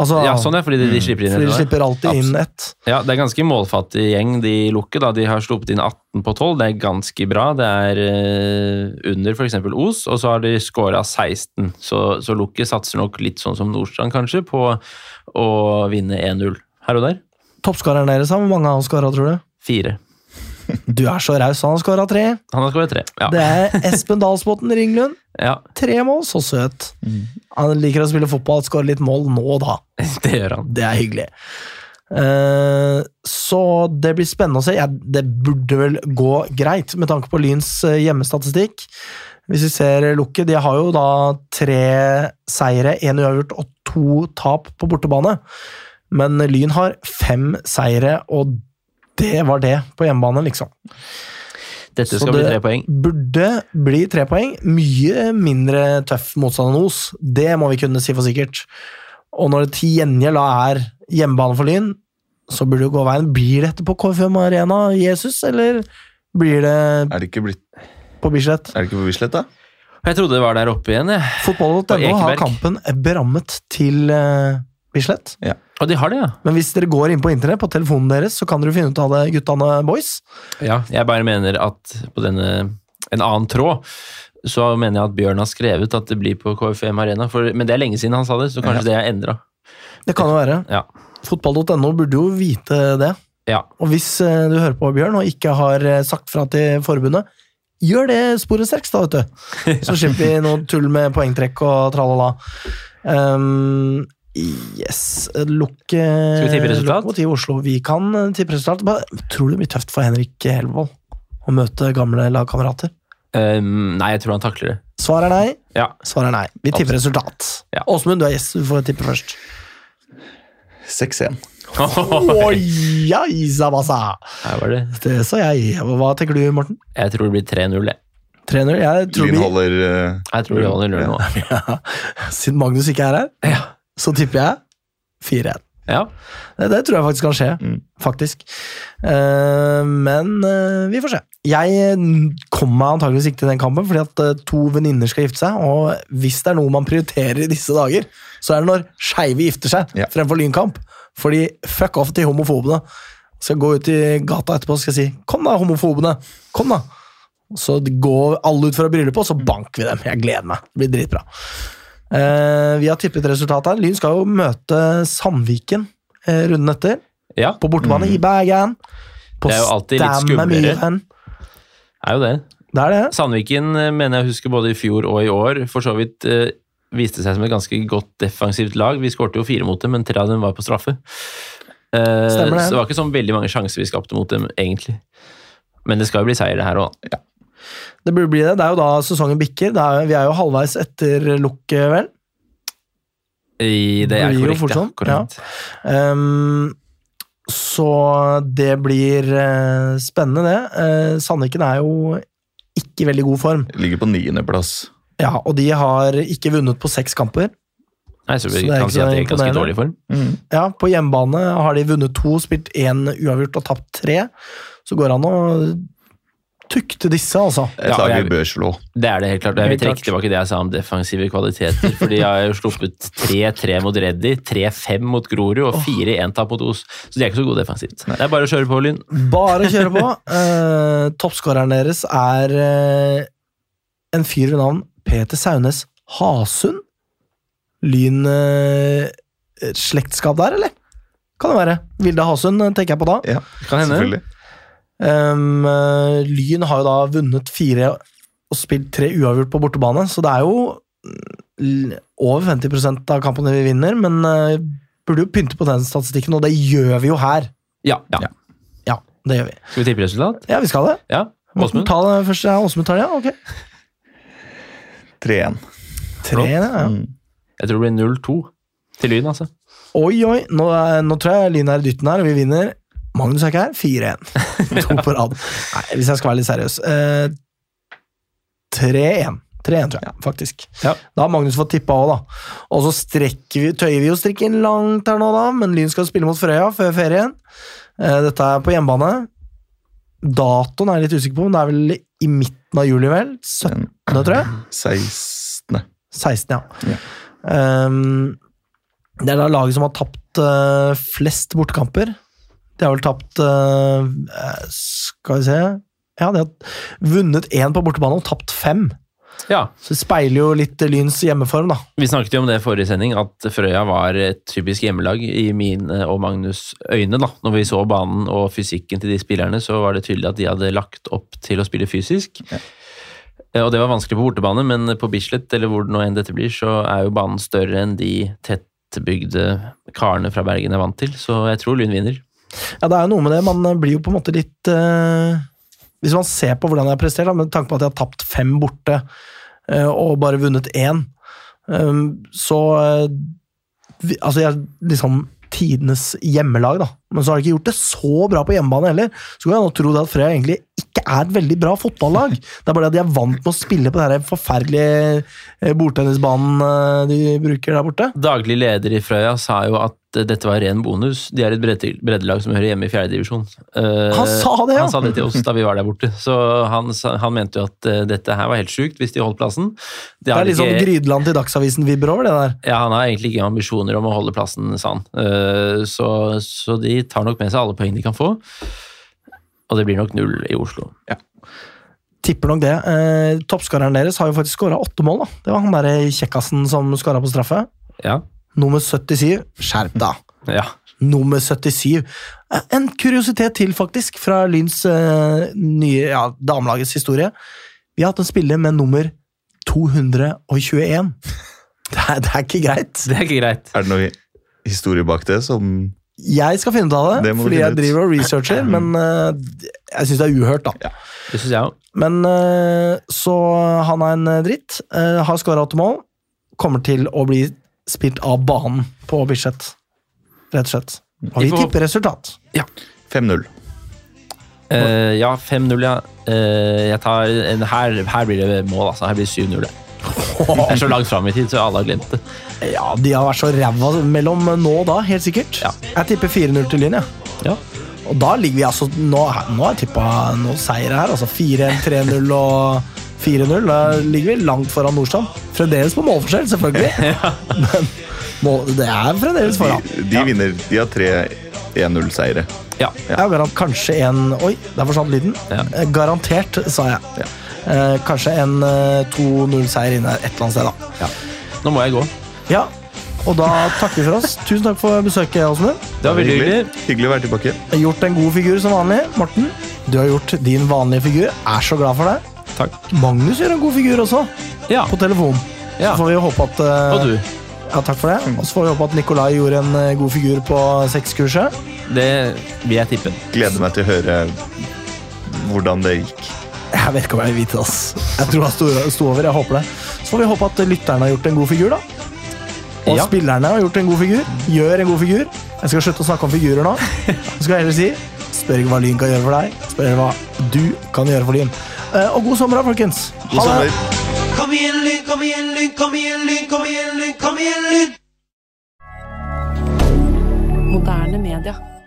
Speaker 1: Altså,
Speaker 2: ja, sånn er fordi de, de slipper inn.
Speaker 1: for de
Speaker 2: etter det.
Speaker 1: slipper alltid inn ett.
Speaker 2: Ja, Det er ganske målfattig gjeng de lukker. da. De har sluppet inn 18 på 12. Det er ganske bra. Det er eh, under f.eks. Os, og så har de scora 16. Så, så Lukke satser nok litt sånn som Nordstrand, kanskje, på å vinne 1-0 her og der.
Speaker 1: Toppskåreren deres, hvor mange har han skåra, tror du?
Speaker 2: Fire.
Speaker 1: Du er så raus, han har skåra tre.
Speaker 2: Han har skåret tre. Ja.
Speaker 1: Det er Espen Dalsbotn Ringlund.
Speaker 2: ja, <laughs>
Speaker 1: Tre mål, så søt.
Speaker 2: Mm.
Speaker 1: Han liker å spille fotball, skåre litt mål nå, da.
Speaker 2: det gjør han.
Speaker 1: Det er hyggelig. Eh, så det blir spennende å se. Ja, det burde vel gå greit, med tanke på Lyns eh, hjemmestatistikk. Hvis vi ser Lukke, de har jo da tre seire, én uavgjort og to tap på bortebane. Men Lyn har fem seire, og det var det på hjemmebane, liksom.
Speaker 2: Dette
Speaker 1: Så
Speaker 2: skal bli
Speaker 1: det-
Speaker 2: tre poeng.
Speaker 1: Burde bli tre poeng. Mye mindre tøff motstand enn Os. Det må vi kunne si for sikkert. Og når det til gjengjeld da er hjemmebane for Lyn, så burde det gå veien. Blir dette på KFUM Arena, Jesus, eller blir det
Speaker 5: Er det ikke, blitt,
Speaker 1: på Bislett?
Speaker 5: er det ikke på Bislett, da?
Speaker 2: Jeg trodde det var der oppe igjen. jeg. På
Speaker 1: Fotball.no
Speaker 2: Ekeberg.
Speaker 1: har kampen berammet til eh, Bislett.
Speaker 2: Og de har det, ja.
Speaker 1: Men hvis dere går inn på internett, på telefonen deres, så kan dere finne ut av det, guttene boys.
Speaker 2: Ja, jeg bare mener at på denne, en annen tråd, så mener jeg at Bjørn har skrevet at det blir på KFM Arena, for, men det er lenge siden han sa det, så kanskje det er endra.
Speaker 1: Det kan jo være.
Speaker 2: Ja.
Speaker 1: Fotball.no burde jo vite det.
Speaker 2: Ja.
Speaker 1: Og hvis eh, du hører på Bjørn og ikke har eh, sagt fra til forbundet, gjør det sporet sterkst, da,
Speaker 2: <laughs>
Speaker 1: vet du. Så slipper vi noe tull med poengtrekk og tralala. Um, yes Lukk
Speaker 2: Skal vi tippe resultat?
Speaker 1: Lokomotiv Oslo. Vi kan eh, tippe resultat. Bare, tror det blir tøft for Henrik Helvold å møte gamle lagkamerater?
Speaker 2: Ehm, nei, jeg tror han takler det.
Speaker 1: Svar er nei.
Speaker 2: <laughs> Ja.
Speaker 1: Svar er nei. Vi tipper resultat.
Speaker 2: Ja.
Speaker 1: Åsmund, du er gjest. Du får tippe først.
Speaker 3: 6-1.
Speaker 1: Oi, oi, sabasa.
Speaker 2: Her var det.
Speaker 1: Det sa jeg. Hva tenker du, Morten?
Speaker 2: Jeg tror det blir 3-0, jeg.
Speaker 1: 3-0? Jeg tror
Speaker 5: Lyn
Speaker 1: vi
Speaker 5: holder eh,
Speaker 2: Jeg tror de holder null nå.
Speaker 1: Siden Magnus ikke er her, så tipper jeg 4-1.
Speaker 2: Ja.
Speaker 1: Det, det tror jeg faktisk kan skje.
Speaker 5: Mm.
Speaker 1: Faktisk. Eh, men eh, vi får se. Jeg eh, kommer meg antageligvis ikke til den kampen, fordi at eh, to venninner skal gifte seg, og hvis det er noe man prioriterer i disse dager, så er det når skeive gifter seg
Speaker 5: Ja.
Speaker 1: fremfor lynkamp. Fordi fuck off til homofobene. Skal gå ut i gata etterpå og skal si 'kom da, homofobene', kom da. Så går alle ut fra bryllupet, og så banker vi dem. Jeg gleder meg. Det blir dritbra. Eh, vi har tippet resultatet her. Lyn skal jo møte Sandviken eh, runden etter.
Speaker 2: ja.
Speaker 1: På bortebane i Bergen. På
Speaker 2: Mm. Det er jo alltid litt
Speaker 1: Stammer
Speaker 2: skumlere.
Speaker 1: Myhren.
Speaker 2: Er jo det.
Speaker 1: Det er det.
Speaker 2: Sandviken eh, mener jeg husker både i fjor og i år, for så vidt eh, viste seg som et ganske godt defensivt lag. Vi skårte jo fire mot dem, men tre av dem var på straffe. Eh,
Speaker 1: Stemmer det.
Speaker 2: Så det var ikke sånn veldig mange sjanser vi skapte mot dem, egentlig. Men det skal jo bli seier, det her òg.
Speaker 1: Det burde bli det. Det er jo da sesongen bikker. Det er, vi er jo halvveis etter lukket, vel.
Speaker 2: Det
Speaker 1: Blir
Speaker 2: er
Speaker 1: jo
Speaker 2: korrekt,
Speaker 1: fort
Speaker 2: ja.
Speaker 1: sånn,
Speaker 2: korrekt.
Speaker 1: Ehm, så det blir eh, spennende, det. Eh, Sandviken er jo ikke i veldig god form.
Speaker 5: ligger på niendeplass.
Speaker 1: Ja, Og de har ikke vunnet på seks kamper.
Speaker 2: Nei, så vi
Speaker 1: Så det er
Speaker 2: kan
Speaker 1: ikke
Speaker 2: si at
Speaker 1: så
Speaker 2: de er i ganske
Speaker 1: imponerende.
Speaker 2: dårlig form.
Speaker 3: Mm.
Speaker 1: Ja, På hjemmebane har de vunnet to, spilt én uavgjort og tapt tre. Så går det an å tukte disse, altså.
Speaker 5: Et
Speaker 2: Ja, og
Speaker 5: lag
Speaker 2: jeg-
Speaker 5: vi bør slå.
Speaker 2: Det er det, helt klart. Jeg vil
Speaker 1: Helt
Speaker 2: trekke
Speaker 1: klart.
Speaker 2: tilbake det jeg sa om defensive kvaliteter. For de har jo sluppet 3-3 mot Reddy, 3-5 mot Grorud og 4-1-tap mot Os. Så de er ikke så gode defensivt. Det er bare å kjøre på, Lyn.
Speaker 1: Bare kjøre på. Eh, Toppskåreren deres er eh, en fyr ved navn Peter Saunes Hasund. Lyn eh, slektskap der, eller? Kan det være. Vilde Hasund eh, tenker jeg på da.
Speaker 5: Ja,
Speaker 2: Kan hende.
Speaker 5: selvfølgelig.
Speaker 1: Um, eh, Lyn har jo da vunnet fire og spilt tre uavgjort på bortebane, så det er jo mm, l- over 50 av kampene vi vinner, men eh, burde jo pynte på den statistikken, og det gjør vi jo her.
Speaker 2: Ja, ja.
Speaker 1: Ja, det gjør vi.
Speaker 2: Skal vi tippe resultat?
Speaker 1: Ja, vi skal det.
Speaker 2: Ja.
Speaker 1: Morten,
Speaker 2: Åsmund?
Speaker 1: ta det først. Ja, Åsmund tar det, ja. Ok.
Speaker 5: 3-1.
Speaker 1: Tre, ja, ja.
Speaker 5: Mm.
Speaker 2: Jeg tror det blir 0-2 til Lyn, altså.
Speaker 1: Oi, oi. Nå, er, nå tror jeg Lyn er i dytten her, og vi vinner. Magnus er ikke her.
Speaker 2: <laughs>
Speaker 1: 4-1. To på rad. Nei, hvis jeg skal være litt seriøs. Eh, 3-1. 3-1, tror jeg, faktisk.
Speaker 2: Ja.
Speaker 1: Da har Magnus fått tippa òg, da. Og så strekker vi, tøyer vi jo strikken langt her nå, da, men Lyn skal spille mot Frøya før ferien. Eh, dette er på hjemmebane. Datoen er jeg litt usikker på, men det er vel i midten av juli, vel? 17.,
Speaker 5: Den
Speaker 1: tror jeg.
Speaker 5: 16.
Speaker 1: 16, ja.
Speaker 5: Ja.
Speaker 1: Ehm, det er da laget som har tapt eh, flest bortekamper. De har vel tapt eh, Skal vi se Ja, de har vunnet én på bortebane og tapt fem.
Speaker 2: Ja,
Speaker 1: Så det speiler jo litt eh, Lyns hjemmeform, da.
Speaker 2: Vi snakket jo om det i forrige sending, at Frøya var et typisk hjemmelag i mine og Magnus øyne. da. Når vi så banen og fysikken til de spillerne, så var det tydelig at de hadde lagt opp til å spille fysisk. Eh, Og det var vanskelig på bortebane, men på Bislett, eller hvor det nå enn dette blir, så er jo banen større enn de tettbygde karene fra Bergen er vant til, så jeg tror Lyn vinner.
Speaker 1: Ja, det er jo noe med det. Man blir jo på en måte litt eh, Hvis man ser på hvordan jeg har prestert, da, med tanke på at jeg har tapt fem borte eh, og bare vunnet én, eh, så eh, vi, Altså, jeg er liksom tidenes hjemmelag, da. Men så har de ikke gjort det så bra på hjemmebane heller. Så kan jeg nå tro det at Frøya egentlig ikke er et veldig bra
Speaker 2: <laughs>
Speaker 1: fotballag. Det er bare det at de er vant med å spille på den her forferdelige eh, bordtennisbanen eh, de bruker der borte.
Speaker 2: Daglig leder i Frøya sa jo at eh, dette var ren bonus. De er et bredde- breddelag som hører hjemme i fjerdedivisjon.
Speaker 1: Han sa det, ja!
Speaker 2: Eh, Han sa det til oss da vi var der borte. Så han, sa- han mente jo at eh, dette her var helt sjukt hvis de holdt plassen. De
Speaker 1: det
Speaker 2: har
Speaker 1: er litt sånn
Speaker 2: ikke-
Speaker 1: Grydland til Dagsavisen-vibber over det der.
Speaker 2: ja, han har egentlig ikke ambisjoner om å holde plassen, sa han. Eh, Så, så de tar nok med seg alle poeng de kan få. Og det blir nok null i Oslo.
Speaker 1: Tipper nok det. Eh, Toppskåreren deres har jo faktisk skåra åtte mål. da. Det var han der kjekkasen som skåra på straffe.
Speaker 2: Ja.
Speaker 1: Nummer 77. Skjerp da!
Speaker 2: ja.
Speaker 1: Nummer 77. Eh, En kuriositet til, faktisk, fra Lyns eh, nye ja, damelagets historie. Vi har hatt en spiller med nummer 221. <laughs> Det er, det er ikke greit.
Speaker 2: Det er ikke greit.
Speaker 5: Er det noe historie bak det som
Speaker 1: Jeg skal finne ut av det,
Speaker 5: Det må du
Speaker 1: fordi jeg
Speaker 5: finne ut.
Speaker 1: driver og researcher, men eh, jeg syns det er uhørt, da.
Speaker 2: Det syns jeg òg.
Speaker 1: Men eh, så han er en dritt. eh, Har skåra åtte mål. Kommer til å bli spilt av banen på Bislett. Rett og slett. Og vi
Speaker 2: Vi får-
Speaker 1: tipper resultat.
Speaker 5: 5-0.
Speaker 2: Eh, ja, 5-0, ja. Eh, jeg tar en, her, her blir det mål, altså. Her blir det 7-0. det. Det er så langt fram i tid, så alle har glemt det.
Speaker 1: Ja, de har vært så ræva mellom nå og da, helt sikkert.
Speaker 2: Ja.
Speaker 1: Jeg tipper 4-0 til Lyn, jeg.
Speaker 2: Ja.
Speaker 1: Og da ligger vi altså Nå, nå har jeg tippa noen seire her. Altså 4-1, 3-0 og 4-0. Da ligger vi langt foran Nordstrand. Fremdeles på målforskjell,
Speaker 2: <laughs>
Speaker 1: selvfølgelig. Men mål, det er fremdeles foran.
Speaker 5: De, de vinner. De har tre 1-0-seire.
Speaker 2: ja.
Speaker 1: Ja, garant, kanskje en Oi, der forsvant lyden.
Speaker 2: Ja.
Speaker 1: Eh, Garantert, sa jeg. Eh, kanskje en eh, 2-0-seier inne her et eller annet sted, da.
Speaker 2: Nå må jeg gå.
Speaker 1: Ja, og da takker vi for oss. Tusen takk for besøket, Åsmund.
Speaker 2: Det var veldig hyggelig.
Speaker 5: Hyggelig å være tilbake.
Speaker 1: Gjort en god figur som vanlig. Morten, du har gjort din vanlige figur. Er så glad for deg.
Speaker 2: Takk.
Speaker 1: Magnus gjør en god figur også,
Speaker 2: Ja.
Speaker 1: på telefon.
Speaker 2: ja.
Speaker 1: Så får vi jo håpe at eh,
Speaker 2: Og du. Mm.
Speaker 1: Ja, takk for det. Og så får vi håpe at Nikolai gjorde en eh, god figur på sexkurset.
Speaker 2: Det vil jeg tippe.
Speaker 5: Gleder meg til å høre hvordan det gikk.
Speaker 1: Jeg vet ikke om jeg vil vite det. ass. Jeg tror han sto, sto over. jeg håper det. Så får vi håpe at lytterne har gjort en god figur, da. Og
Speaker 2: Ja.
Speaker 1: spillerne har gjort en god figur. Gjør en god figur. Jeg skal slutte å snakke om figurer nå. Jeg skal heller si spør ikke hva Lyn kan gjøre for deg, spør hva du kan gjøre for Lyn. Eh, Og god sommer, da, folkens.
Speaker 5: God sommer.
Speaker 6: Kom igjen, Lyn, kom igjen, Lyn, kom igjen, Lyn, kom igjen, Lyn, kom igjen, Lyn!
Speaker 7: Moderne media.